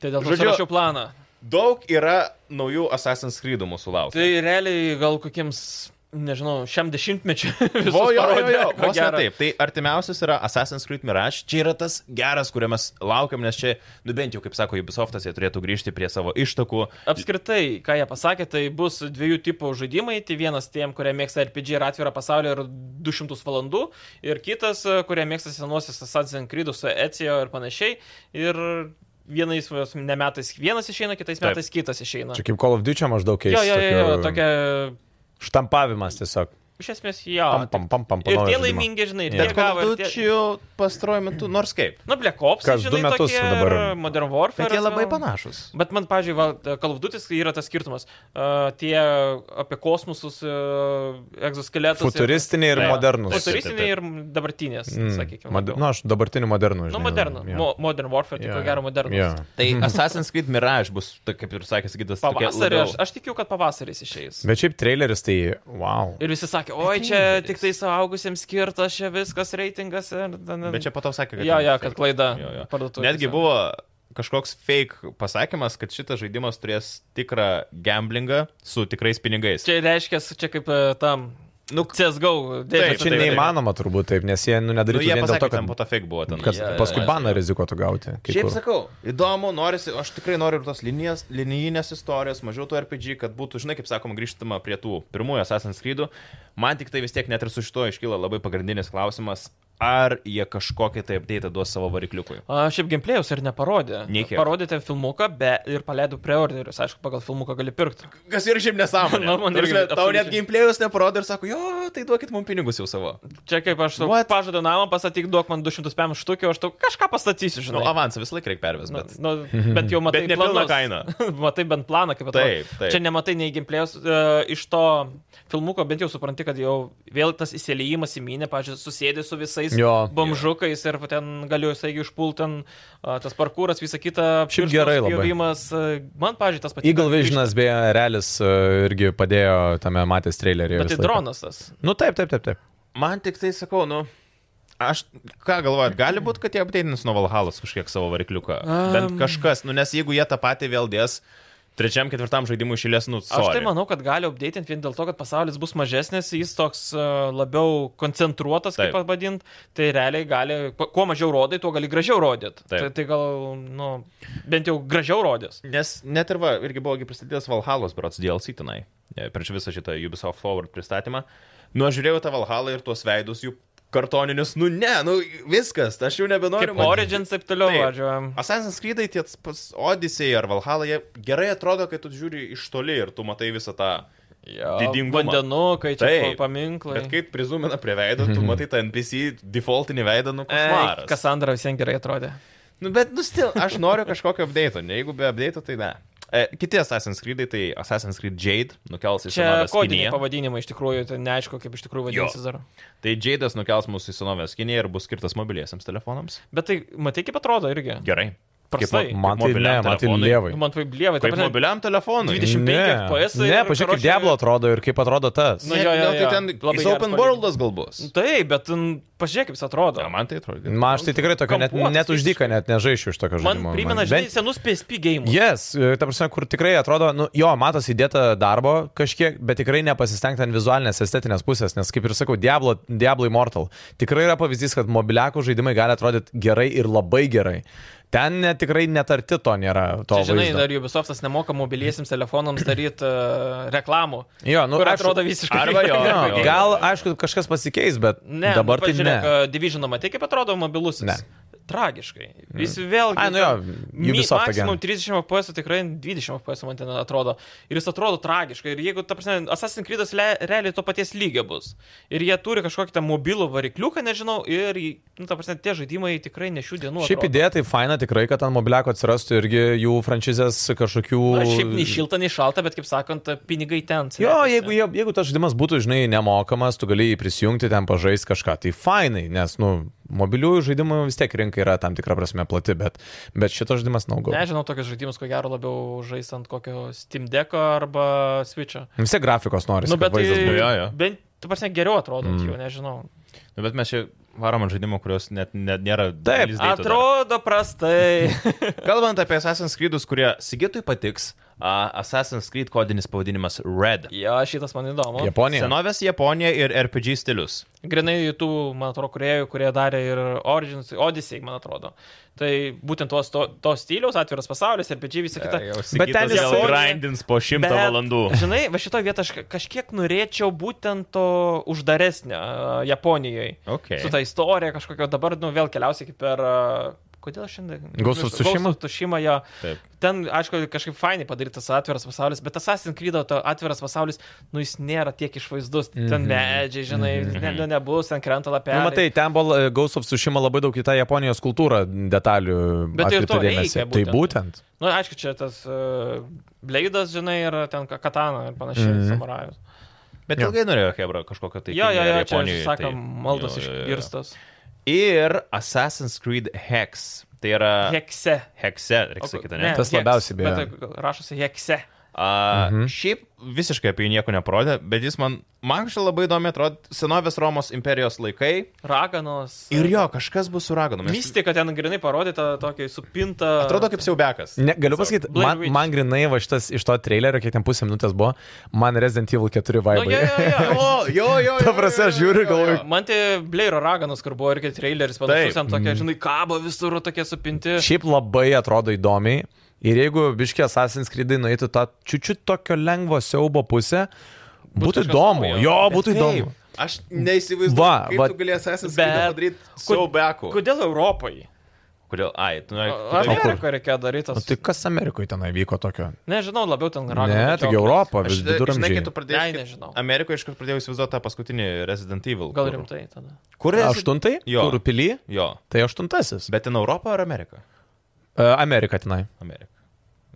Speaker 4: Tai dėl to
Speaker 1: Žodžiu-
Speaker 4: surašiau planą.
Speaker 1: Daug yra naujų Assassin's Creed'ų mūsų laukia.
Speaker 4: Tai realiai gal kokiems, nežinau, šiam dešimtmečiu. Tai visus
Speaker 1: Vo, jo, jo,
Speaker 4: parodė,
Speaker 1: jo,
Speaker 4: ko
Speaker 1: vos ne
Speaker 4: gero.
Speaker 1: taip. Tai artimiausias yra Assassin's Creed Mirage. Čia yra tas geras, kurio mes laukiam, nes čia, nu bent jau, kaip sako Ubisoftas, jie turėtų grįžti prie savo ištakų.
Speaker 4: Apskritai, ką jie pasakė, tai bus dviejų tipų žaidimai. Tai vienas tiem, kurie mėgsta RPG ir atvirą pasaulį ir 200 valandų. Ir kitas, e, kurie mėgsta senuosius Assassin's Creed su Ecijo ir panašiai. Ir vienais vos ne metais vienas išeina, kitais
Speaker 1: Taip.
Speaker 4: metais kitas išeina.
Speaker 2: Čia kaip Call of Duty maždaug
Speaker 4: Jo,
Speaker 2: keista.
Speaker 4: jo, jo, jo, tokia.
Speaker 2: Štampavimas tiesiog.
Speaker 4: Iš esmės, jo.
Speaker 2: Pam, pam, pam, pam, pam.
Speaker 4: Ir
Speaker 2: naujo
Speaker 4: tie
Speaker 2: žaidimo.
Speaker 4: laimingi, žinai, ir
Speaker 1: Bet
Speaker 4: tie gavo. ir Tie...
Speaker 1: kalbučių pastrojame tu, nors kaip.
Speaker 4: Nu, Black Ops,
Speaker 2: Kas du
Speaker 4: žinai,
Speaker 2: metus
Speaker 4: tokie,
Speaker 2: dabar.
Speaker 4: ir Modern Warfare.
Speaker 1: Bet jie labai
Speaker 4: nu.
Speaker 1: panašus.
Speaker 4: Bet man, pažiūrėjau, kalvdutis yra tas skirtumas. Uh, tie apie kosmosus, uh, egzoskeletus.
Speaker 2: Futuristiniai ir
Speaker 4: Taip.
Speaker 2: modernūs.
Speaker 4: Futuristiniai ir dabartinės, mm, sakykime.
Speaker 2: Mod... Na, aš dabartinį modernų žinau.
Speaker 4: Nu, modernų.
Speaker 2: jo.
Speaker 4: Yeah. Mo modern Warfare, yeah.
Speaker 2: Jo,
Speaker 4: tai ko gero modernus.
Speaker 2: jo.
Speaker 4: Yeah.
Speaker 1: Tai Assassin's Creed Mirage bus, ta- kaip ir sakė, sakytas,
Speaker 4: Mhm. Pavasarį, aš, aš tikiu, kad pavasaris išeis.
Speaker 2: Bet šiaip traileris tai, wow.
Speaker 4: Ir visi sakė, oi, čia tik tai suaugusiems skirtas, čia viskas reitingas. Ir...
Speaker 1: Bet čia patau sakė, kad...
Speaker 4: Jo,
Speaker 1: ten
Speaker 4: jo,
Speaker 1: fake.
Speaker 4: kad klaida.
Speaker 1: Jo, jo.
Speaker 4: Parduotuvėse.
Speaker 1: Netgi buvo kažkoks fake pasakymas, kad šitas žaidimas turės tikrą gamblingą su tikrais pinigais.
Speaker 4: Čia reiškia, čia kaip e, tam. Nu, CSGO,
Speaker 1: Taip,
Speaker 2: Čia
Speaker 1: taip, taip.
Speaker 2: neįmanoma turbūt taip, nes jie nu,
Speaker 1: Nu,
Speaker 2: nedarytų
Speaker 1: jie
Speaker 2: vien dėl
Speaker 1: pasakė,
Speaker 2: to,
Speaker 1: kad ten po
Speaker 2: kad
Speaker 1: to fake buvo ten.
Speaker 2: kas,
Speaker 1: Jo, jo,
Speaker 2: paskui
Speaker 1: jo.
Speaker 2: baną rizikuotų gauti. kai
Speaker 1: Šiaip
Speaker 2: kur.
Speaker 1: sakau, įdomu, norisi, aš tikrai noriu ir tos linijas, linijinės istorijos, mažiau to RPG, kad būtų, žinai, kaip sakoma, grįžtama prie tų pirmųjų Assassin's Creed'ų. Man tik tai vis tiek net ir su šito iškyla labai pagrindinis klausimas, ar jie kažkokį tai update duos savo varikliukui.
Speaker 4: A, šiaip gameplay'us ir neparodė.
Speaker 1: Nei kiek.
Speaker 4: Parodė ten filmuką be, ir paleido preorderius. Aišku, pagal filmuką gali pirkti.
Speaker 1: Kas ir šiaip nesąmonė.
Speaker 4: Nu, man
Speaker 1: Ta prasme,
Speaker 4: irgi
Speaker 1: Tau net
Speaker 4: absoliučiai.
Speaker 1: gameplay'us neparodo ir sako, jo, tai duokit mums pinigus jau savo.
Speaker 4: Čia kaip aš tau
Speaker 1: What?
Speaker 4: pažadu namą, pasakyk, duok man 205 štukių, aš tau kažką
Speaker 1: Nu,
Speaker 4: pastatysiu, žinau.
Speaker 1: avansą visą laiką reikia pervesti, bet...
Speaker 4: bet, nu, bet jau matai
Speaker 1: Bet ne pilna
Speaker 4: planus.
Speaker 1: kaina.
Speaker 4: matai bent planą, kaip atrodo.
Speaker 1: Taip, taip.
Speaker 4: Čia nematai nei gameplay'us e, iš to filmuko, bent jau supranti, kad jau vėl tas įsileimas į minę, pažiūrėjau, susėdė su visais
Speaker 2: Jo.
Speaker 4: bomžukais ir ten galiu, saigi, užpult ten a, tas parkūras, visa kita.
Speaker 2: Šiaip
Speaker 4: pirštų
Speaker 2: gerai labai.
Speaker 4: spjovimas. E, Man, pažiūrėjau, tas patinka.
Speaker 2: Eagle Visionas beje, realis e, irgi padėjo tame matęs trailerį.
Speaker 4: Bet tai dronas tas.
Speaker 2: Nu taip, taip, taip, taip.
Speaker 1: Man tik tai sakau, nu... Aš ką galvojat, gali būti, kad jie apdeitins nuo Valhalos kažkiek savo varikliuką. Um. Bent kažkas, nu nes jeigu jie tą patį vėl dės trečiam, ketvirtam žaidimui išėlės, nu,
Speaker 4: Aš
Speaker 1: sorry.
Speaker 4: tai manau, kad gali updatinti vien dėl to, kad pasaulis bus mažesnis, jis toks e, labiau koncentruotas, kaip
Speaker 1: Taip.
Speaker 4: vadint, tai realiai gali, kuo kuo mažiau rodai, tuo gali gražiau rodyti. Tai,
Speaker 1: Taip.
Speaker 4: tai gal, nu, bent jau gražiau rodys.
Speaker 1: Nes net ir va, irgi buvo pristatytas Valhalos Brats DLC tenai, e, prieš visą šitą Ubisoft Forward pristatymą. Nu, aš žiūrėjau tą Valhalą ir tuos veidus jų kartoninius, nu ne, nu viskas, aš jau nebenoriu.
Speaker 4: Kaip
Speaker 1: matyt.
Speaker 4: Origins taip toliau
Speaker 1: Taip.
Speaker 4: važiuojam.
Speaker 1: Assassin's Creed, tie pats Odyssey ar Valhalla, jie gerai atrodo, kai tu žiūri iš toli ir tu matai visą tą. didingumą.
Speaker 4: Vandenu, kai čia
Speaker 1: Taip.
Speaker 4: pa- paminklai.
Speaker 1: Bet kai prizumina prie veido, tu matai tą NPC defaultinį veidą, nu
Speaker 4: Ei,
Speaker 1: košmaras.
Speaker 4: Kassandra visiems gerai atrodė.
Speaker 1: Nu, bet, nu, stil, aš noriu kažkokio update, ne jeigu be update, tai ne. E, kiti Assassin's Creed, tai Assassin's Creed Jade nukels į
Speaker 4: Čia
Speaker 1: senovės
Speaker 4: kodiniai
Speaker 1: Kiniją.
Speaker 4: pavadinimai iš tikrųjų, tai neaišku, kaip iš tikrųjų
Speaker 1: Jo.
Speaker 4: vadinasi dar.
Speaker 1: Tai Jade'as nukels mūsų į senovės Kiniją ir bus skirtas mobiliesiams telefonams.
Speaker 4: Bet tai, matai, kaip atrodo irgi.
Speaker 1: Gerai.
Speaker 4: Prastai.
Speaker 1: mo-
Speaker 2: Man tai ne,
Speaker 1: mobiliam
Speaker 2: man tai
Speaker 1: telefonui.
Speaker 2: lievai.
Speaker 4: Nu, Man taip lievai,
Speaker 1: Kaip mobiliam telefonui.
Speaker 4: 20 25 FPS ir,
Speaker 2: Ne, pažiūrėk, kaip
Speaker 4: karoče-
Speaker 2: Diablo atrodo ir kaip atrodo tas.
Speaker 4: Nu, jo, jo,
Speaker 1: Gal
Speaker 4: jo.
Speaker 1: Tai ten
Speaker 4: Labai
Speaker 1: jis
Speaker 4: geras
Speaker 1: open
Speaker 4: palyginimas.
Speaker 1: worldas gal bus.
Speaker 4: Taip, bet n, pažiūrėk, kaip jis atrodo.
Speaker 1: Na, man tai atrodo.
Speaker 2: Man aš tai tikrai tokio net,
Speaker 4: Kampuotas
Speaker 2: net uždyka, net nežaišiu iš tokio
Speaker 4: Man
Speaker 2: žaidimo.
Speaker 4: primena, žinai,
Speaker 2: Bent-
Speaker 4: senus PSP gėjimus.
Speaker 2: Yes, e, ta prasme, kur tikrai atrodo, nu, jo, matos įdėta darbo kažkiek, bet tikrai nepasistengta ant vizualinės estetinės pusės, nes, kaip ir sakau, Diablo, Diablo Immortal tikrai yra pavyzdys, kad mobiliakų žaidimai gali atrodyti gerai ir labai gerai. Ten net, tikrai netarti to nėra. To
Speaker 4: Čia, žinai,
Speaker 2: vaizdo.
Speaker 4: dar Ubisoftas nemoka mobiliesiams telefonams daryti uh, reklamų.
Speaker 2: Jo, nu,
Speaker 4: kur
Speaker 2: aš-
Speaker 4: atrodo visiškai.
Speaker 1: Arba jo,
Speaker 2: Jo,
Speaker 1: jo.
Speaker 2: gal, aišku, kažkas pasikeis, bet
Speaker 4: Ne,
Speaker 2: ne, dabar
Speaker 4: nu,
Speaker 2: tai ne.
Speaker 4: pažiūrėk, e, Division, matai, kaip atrodo mobilusis.
Speaker 2: Ne.
Speaker 4: Tragiškai. Jis vėlgi.
Speaker 2: Ai, nu jo,
Speaker 4: ten mi-
Speaker 2: Ubisoft
Speaker 4: Maksimum
Speaker 2: again.
Speaker 4: 30 FPS, o tikrai 20 FPS man ten atrodo. Ir jis atrodo tragiškai. Ir jeigu, ta prasme, Assassin's Creed realiai to paties lygio bus. Ir jie turi kažkokį tą mobilų varikliuką, nežinau. Ir, į- nu, ta prasme, tie žaidimai tikrai ne šių dienų.
Speaker 2: Šiaip
Speaker 4: nu, atrodo.
Speaker 2: idėja tai faina tikrai, kad ant mobiliako atsirastų irgi jų franšizės kažkokių...
Speaker 4: Na, šiaip nei šilta, nei šalta, bet kaip sakant, pinigai ten.
Speaker 2: Jo,
Speaker 4: slepiasi.
Speaker 2: jeigu, jie- jeigu tas žaidimas būtų, žinai, nemokamas, tu gali jį prisijungti, ten pažaisti kažką, tai fainai, nes, nu, mobiliųjų žaidimų vis tiek rinka yra tam tikrą prasme plati, bet, bet šitas žaidimas naugau.
Speaker 4: Nežinau, tokius žaidimus, ko gero, labiau žais ant kokio Steam Deck'o arba Switch'o.
Speaker 2: Vis tiek grafikos nori.
Speaker 4: Nu, bet
Speaker 1: būtų.
Speaker 2: vaizdas
Speaker 4: tai,
Speaker 2: būtų.
Speaker 1: Jo, jo.
Speaker 4: bent, tu prasme, geriau atrodo, mm. jau nežinau.
Speaker 1: Nu, bet mes čia varom ant žaidimų, kurios net, net nėra.
Speaker 2: Taip,
Speaker 1: release date'o dar.
Speaker 4: Atrodo prastai.
Speaker 1: Kalbant apie Assassin's Creedus, kurie Sigitui patiks, a, Assassin's Creed kodinis pavadinimas Red.
Speaker 4: jo, šitas man įdomu. Yep.
Speaker 2: Japonija.
Speaker 1: Senovės Japonija ir RPG stilius.
Speaker 4: Grinai tų, man atrodo, kuriejų, kurie darė ir Origins, Odyssey, man atrodo. Tai būtent tos, to, to stiliaus, atviras pasaulis, RPG, visa kita.
Speaker 1: Bet ten
Speaker 2: nu,
Speaker 1: jis
Speaker 4: Japonija-
Speaker 1: grindins po šimtą
Speaker 4: Bet,
Speaker 1: valandų.
Speaker 4: Žinai, va šitoje vietoje aš ka- kažkiek norėčiau būtent to uždaresnio e, Japonijoje.
Speaker 1: Okay.
Speaker 4: su tai- ta istorija kažkokio, dabar, nu, vėl keliausiai kaip per... a, Kodėl šiandien?
Speaker 2: Ghost of Tsushima?
Speaker 4: Tušima jo.
Speaker 1: Taip.
Speaker 4: Ten, aišku, kažkaip fainai padarytas atviras pasaulis, bet Assassin's Creed atviras pasaulis, nu, jis nėra tiek išvaizdus. Mm -hmm.
Speaker 1: Mhm.
Speaker 4: Ten medžiai, žinai, mm -hmm. ne, nu, nebus, ten krenta lapelė.
Speaker 2: Nu, matai, ten buvo e, Ghost of Tsushima labai daug į tą Japonijos kultūrą detalių.
Speaker 4: Bet tai ir
Speaker 2: atkreipta
Speaker 4: to reikia
Speaker 2: dėmesį.
Speaker 4: būtent.
Speaker 2: Tai būtent.
Speaker 4: Nu, aišku, čia tas uh, bleidas, žinai, ir ten ka- katana ir panašiai,
Speaker 1: Mhm.
Speaker 4: mm -hmm. samurajus.
Speaker 1: Bet ilgai norėjo Hebra kažkokio tai.
Speaker 4: Jo, jo,
Speaker 1: kinija
Speaker 4: jo,
Speaker 1: ar
Speaker 4: čia,
Speaker 1: Japonijoj,
Speaker 4: aš sakom,
Speaker 1: tai-
Speaker 4: maldos
Speaker 1: jo, jo, jo.
Speaker 4: išgirstas.
Speaker 1: Ir Assassin's Creed Hex. Tai yra.
Speaker 4: Hekse.
Speaker 1: Hexe, reikia sakyti, ne?
Speaker 2: Tas labiausiai beje.
Speaker 4: Bet tai rašosi hekse.
Speaker 1: A, mhm. Šiaip visiškai apie jį nieko neparodė, bet jis man, man čia labai įdomi atrodo, senovės Romos imperijos laikai.
Speaker 4: Raganos.
Speaker 1: Ir jo, kažkas bus su raganomis.
Speaker 4: Mistika ten grinai parodyta tokia supinta.
Speaker 1: Atrodo kaip siaubekas.
Speaker 2: Ne, galiu pasakyti,
Speaker 4: Blair
Speaker 2: man,
Speaker 4: Witch.
Speaker 2: man grinai va šitas iš to trailerio, kiek ten pusė minutės buvo, man Resident Evil 4
Speaker 4: Nu,
Speaker 2: vaibai.
Speaker 4: jo, jo, jo.
Speaker 1: O, jo, jo.
Speaker 2: Ta prasme, aš žiūriu ir galvoju,
Speaker 4: Man tai Blairo raganas, kur buvo irgi traileris,
Speaker 1: Taip.
Speaker 4: panašus, ten tokie, žinai, kabo visur tokie supinti.
Speaker 2: Šiaip labai atrodo įdomiai. Ir jeigu biškė Assassin's Creed nueitų tą čiučiu tokio lengvo siaubo pusę, būtų
Speaker 4: kažkas
Speaker 2: įdomu.
Speaker 4: naujo.
Speaker 2: Jo, būtų įdomu.
Speaker 1: Aš neįsivaizduoju,
Speaker 2: Va,
Speaker 1: kaip
Speaker 2: va-
Speaker 1: tu galėsi Assassin's Creed
Speaker 4: Bet-
Speaker 1: padaryti
Speaker 4: Kod-
Speaker 1: siaubeku.
Speaker 4: Kodėl Europai?
Speaker 1: Kodėl? Ai, tu nori.
Speaker 4: A-
Speaker 1: kodėl- Nu,
Speaker 4: Amerikoje reikia daryti.
Speaker 2: O tai kas Amerikoje ten vyko tokio?
Speaker 4: Nežinau, labiau ten raganų.
Speaker 2: Ne, tik
Speaker 1: Aš,
Speaker 2: Europą, vis
Speaker 1: žinai, kai
Speaker 2: viduramžiai.
Speaker 1: tu pradėjai.
Speaker 4: Ai, nežinau.
Speaker 1: Amerikoje iškart pradėjau įsivaizduoti tą paskutinį Resident Evil.
Speaker 4: Gal
Speaker 1: kur-
Speaker 4: rimtai tada.
Speaker 1: Kur Resi-
Speaker 2: Aštuntai?
Speaker 1: Jo.
Speaker 2: Kur pily?
Speaker 1: Jo.
Speaker 2: Tai aštuntasis.
Speaker 1: Bet ten Europą ar Ameriką?
Speaker 2: E, Amerika tenai.
Speaker 1: Ameriką.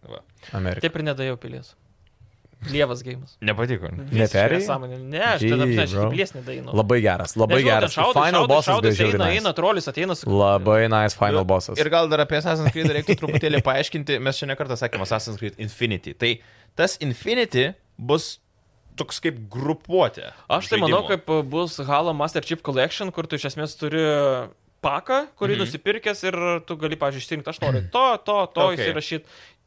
Speaker 1: Va.
Speaker 2: Amerika.
Speaker 4: Taip ir nedėjau pilies. Lievas gėjimas.
Speaker 1: Nepatiko. ne?
Speaker 4: Mhm.
Speaker 2: Neperėjai?
Speaker 4: Ne, aš
Speaker 2: Gee, bro.
Speaker 4: tada apnešiu pilies
Speaker 1: nu.
Speaker 4: nedainau.
Speaker 2: Labai geras, labai
Speaker 4: Nežinau, ten
Speaker 2: geras.
Speaker 4: Šaudo,
Speaker 2: Final
Speaker 4: šaudo,
Speaker 2: bossas
Speaker 4: šaudo,
Speaker 2: beje
Speaker 4: eina,
Speaker 2: žiauriai.
Speaker 4: eina,
Speaker 2: nice.
Speaker 4: trolis ateina su...
Speaker 2: Labai nice final bossas.
Speaker 1: Ir gal dar apie Assassin's Creed reiktų truputėlį paaiškinti, mes čia nekartą sakėme Assassin's Creed Infinity. Tai tas Infinity bus toks kaip grupuotė.
Speaker 4: Aš tai
Speaker 1: žaidimų.
Speaker 4: manau, kaip bus Halo Master Chip Collection, kur tu iš esmės turi
Speaker 1: Mhm.
Speaker 4: paką, kurį nusipirkęs ir tu gali, pažiūrėjau, išsirinkti, aš noriu to, to, to
Speaker 1: Okay.
Speaker 4: okay. įsirašyti.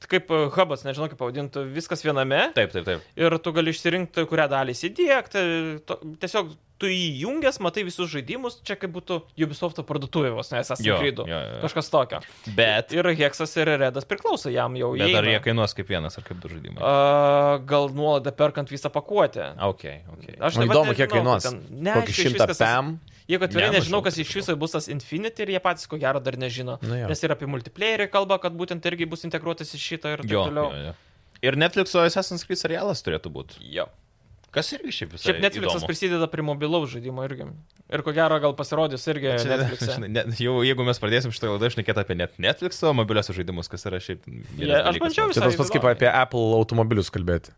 Speaker 4: Kaip e, hubas, nežinau kaip pavadinti, viskas viename.
Speaker 1: Taip, taip, taip.
Speaker 4: Ir tu gali išsirinkti, kurią dalį įsidėkti. To, tiesiog tu įjungęs, matai visus žaidimus, čia kaip būtų Ubisofto parduotuvė vos, nes esi
Speaker 1: Jo,
Speaker 4: krydų.
Speaker 1: jo, jo.
Speaker 4: Kažkas tokio.
Speaker 1: Bet,
Speaker 4: Ir Heksas ir Redas priklauso jam jau.
Speaker 1: bet ar
Speaker 4: įeina.
Speaker 1: jie kainuos kaip vienas, ar kaip du žaidimai?
Speaker 4: A, gal nuolaidą perkant visą pakuotę.
Speaker 1: Okay, okay.
Speaker 4: Aš
Speaker 2: Man
Speaker 4: dabar
Speaker 2: Nu, įdomu,
Speaker 4: nežinau, tai
Speaker 2: kiek kainuos.
Speaker 4: ten-
Speaker 2: Kokį
Speaker 4: neaišku iš
Speaker 2: šimtą
Speaker 4: viskas-
Speaker 2: PM?
Speaker 4: Jeigu atvirai,
Speaker 1: Ne,
Speaker 4: nežinau,
Speaker 1: mažiau, tai Nu
Speaker 4: kas iš viso bus tas Infinity ir jie patys ko gero dar nežino.
Speaker 2: Na jo.
Speaker 4: Nes ir apie multiplayerį kalba, kad būtent irgi bus integruotas į šitą ir taip
Speaker 1: Jo, jo,
Speaker 4: toliau.
Speaker 1: jo. Ir Netflix'o Assassin's Creed serialas turėtų būti.
Speaker 4: jo.
Speaker 1: Kas irgi šiaip visai.
Speaker 4: Šiaip Netflix'as
Speaker 1: Tai įdomu.
Speaker 4: prisideda prie mobilaus žaidimo irgi. Ir ko gero gal pasirodys irgi
Speaker 1: Čia,
Speaker 4: Netflix'e.
Speaker 1: žinai, net, jau jeigu mes pradėsim šitą laidą šnekėti apie net Netflix'o mobiliosius žaidimus, kas yra šiaip...
Speaker 4: Jie-
Speaker 1: geras
Speaker 4: aš
Speaker 1: dalykas,
Speaker 4: bandžiau
Speaker 1: man.
Speaker 2: Čia tas pats kaip
Speaker 4: įdomu.
Speaker 2: apie Apple automobilius kalbėti.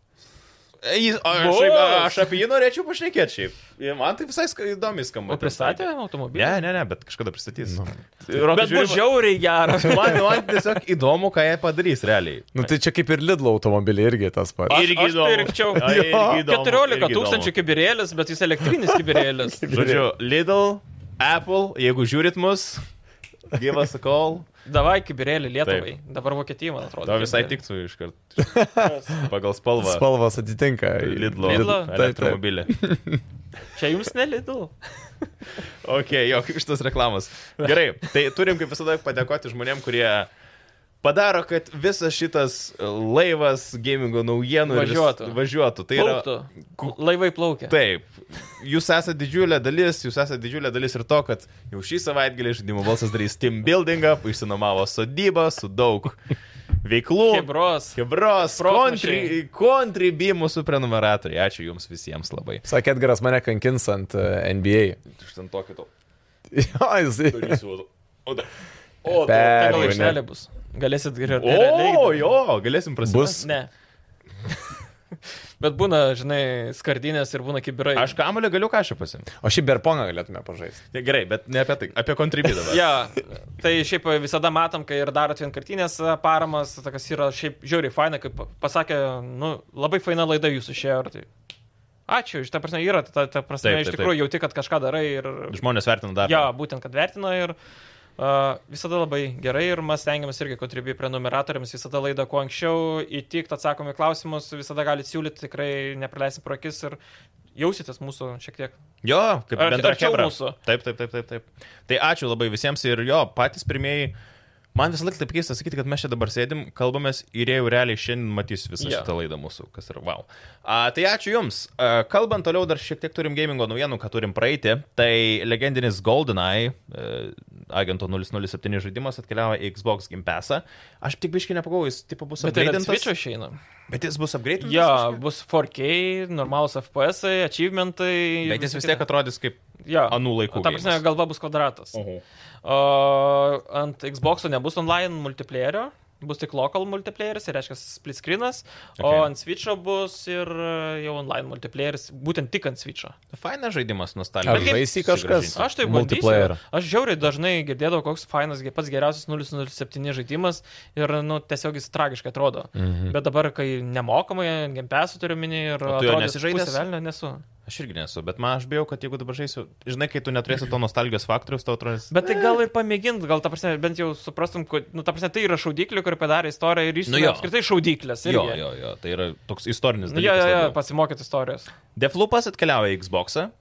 Speaker 1: E, Jis, o aš,
Speaker 4: Bus.
Speaker 1: aš apie jį norėčiau pašnekėti šiaip. Man tai visai sk- įdomiai skamba.
Speaker 4: O pristatė automobilį?
Speaker 1: Ne, ne, ne, bet kažkada pristatys. Nu.
Speaker 4: Bet buvo žiauriai geras.
Speaker 1: Man, man tiesiog įdomu, ką jie padarys realiai.
Speaker 2: Nu tai čia kaip ir Lidl automobiliai irgi tas pats.
Speaker 4: Aš-
Speaker 1: Irgi
Speaker 4: aš
Speaker 1: įdomu.
Speaker 4: pirkčiau.
Speaker 1: tai Jo, irgi įdomu,
Speaker 4: 14
Speaker 1: irgi įdomu.
Speaker 4: tūkstančių kibirėlis, bet jis elektrinis kibirėlis.
Speaker 1: Žodžiu, Lidl, Apple, jeigu žiūrit mus, give us a call.
Speaker 4: Davai kibirėlį Lietuvai. Dabar Vokietijai, man atrodo.
Speaker 1: Tau visai
Speaker 4: kibirėlį.
Speaker 1: tiktų iškart. Pagal spalvą. Tai
Speaker 2: Spalvos atitinka.
Speaker 1: Lidl.
Speaker 4: Lidlo.
Speaker 2: Taip, taip.
Speaker 1: Elektromobilį.
Speaker 4: Čia jums nelidau.
Speaker 1: Ok, jo, kaip šitas reklamas. Gerai, tai turim kaip visada padėkoti žmonėm, kurie padaro, kad visas šitas laivas gamingo naujienų ir vis-
Speaker 4: Važiuotų.
Speaker 1: važiuotų. Tai yra,
Speaker 4: Plauktų. Laivai plaukia.
Speaker 1: Taip, jūs esate didžiulė dalis, jūs esate didžiulė dalis ir to, kad jau šį savaitgalį žaidimų balsas darys team buildingą, išsinomavo sodybą su daug veiklų.
Speaker 4: Hebros.
Speaker 1: Hebros,
Speaker 4: Protmūšiai.
Speaker 1: kontribį mūsų prenumeratoriai. Ačiū Jums visiems labai.
Speaker 2: Sakė, Edgaras mane kankins ant e, NBA.
Speaker 1: Iš ten tokio to.
Speaker 2: Jo, jis.
Speaker 1: Darysiu. O, da- o, da-
Speaker 4: Gal
Speaker 2: Permainė.
Speaker 4: aikštelė bus. Galėsit geriau.
Speaker 1: o, jo, galėsim prasidėti.
Speaker 2: Bus.
Speaker 4: Ne. Bet būna, žinai, skardinės ir būna kibirai.
Speaker 1: Aš kamulio galiu kažką pasimti.
Speaker 2: O šį berpongą galėtume pažaisti.
Speaker 1: Gerai, bet ne apie tai, apie kontribį dabar.
Speaker 4: Ja, tai šiaip visada matom, kai ir darot vienkartinės paramas, tokas yra šiaip žiauriai faina, kaip pasakė, nu, labai faina laida jūsų šia. Tai. Ačiū, iš ta prasme yra, ta, ta prasme,
Speaker 1: Taip,
Speaker 4: taip,
Speaker 1: taip,
Speaker 4: taip, iš tikrųjų jauti, kad kažką darai ir...
Speaker 1: Žmonės vertina darbą.
Speaker 4: Ja, būtent, kad vertina ir uh, visada labai gerai ir mes stengiamės irgi kontribi prenumeratoriams visada laidą kuo anksčiau įtikt, atsakom į klausimus, visada galite siūlyti, tikrai nepraleisim pro akis ir jausitės mūsų šiek tiek.
Speaker 1: Jo, kaip
Speaker 4: Ar-
Speaker 1: bendra
Speaker 4: arčiau
Speaker 1: chebra.
Speaker 4: mūsų.
Speaker 1: Taip, taip, taip, taip, taip. Tai ačiū labai visiems ir jo, patys pirmieji. Man visą laiką taip keista sakyti, kad mes čia dabar sėdim, kalbamės ir jie jau realiai šiandien matys visą
Speaker 4: Jo.
Speaker 1: yeah. šitą laidą mūsų, kas yra wow. A, tai ačiū Jums. A, kalbant toliau, dar šiek tiek turim gamingo naujienų, ką turim praeiti. Tai legendinis GoldenEye, e, agento 007 žaidimas atkeliavo į Xbox Game Passą. Aš tik biškai nepagau, jis tipo bus
Speaker 4: Bet tai yra
Speaker 1: upgradintas.
Speaker 4: Twitch'o išeina.
Speaker 1: Bet jis bus upgradintas.
Speaker 4: Ja,
Speaker 1: biškį?
Speaker 4: bus 4K, normalus FPS, achievementai.
Speaker 1: Bet jis vis tiek atrodys kaip
Speaker 4: ja.
Speaker 1: anų laikų
Speaker 4: Ta prasme,
Speaker 1: geimas.
Speaker 4: galva bus kvadratas. O,
Speaker 1: Oho.
Speaker 4: ant Xbox nebus online multiplayerio, bus tik local multiplayeris, tai reiškia split screenas, okay. o
Speaker 1: Okay.
Speaker 4: ant Switch'o bus ir e, jau online multiplayeris, būtent tik ant Switch'o.
Speaker 1: Fainas žaidimas,
Speaker 2: Ar
Speaker 1: nostalgiškas.
Speaker 2: žaisi kažkas?
Speaker 4: Aš tai
Speaker 2: Multiplayer.
Speaker 4: multiplayer. Aš žiauriai dažnai girdėdavau, koks fainas, ge- pats geriausias 007 žaidimas ir, nu, tiesiog jis tragiškai atrodo. Mhm. Bet dabar, kai nemokamai, gempesų turiu minį ir...
Speaker 1: O tu jo
Speaker 4: atrodys
Speaker 1: nesi žaidęs?
Speaker 4: pusė velnio nesu.
Speaker 1: Aš irgi nesu, bet man aš bijau, kad jeigu dabar žaisiu, žinai, kai tu neturėsi to nostalgijos faktoriaus, tau atrodys.
Speaker 4: Bet tai gal ir pamėgint, gal ta prasme, bent jau suprastum, kad, nu, ta prasme, tai yra šaudyklė, kuri padarė istoriją ir
Speaker 1: Nu
Speaker 4: išstumė
Speaker 1: jo.
Speaker 4: nu, apskritai šaudyklės.
Speaker 1: Jo, jo, jo, tai yra toks istorinis
Speaker 4: Nu, jo, jo, jo,
Speaker 1: dalykas.
Speaker 4: pasimokyti istorijos.
Speaker 1: Deflupas atkeliavo į Xboxą.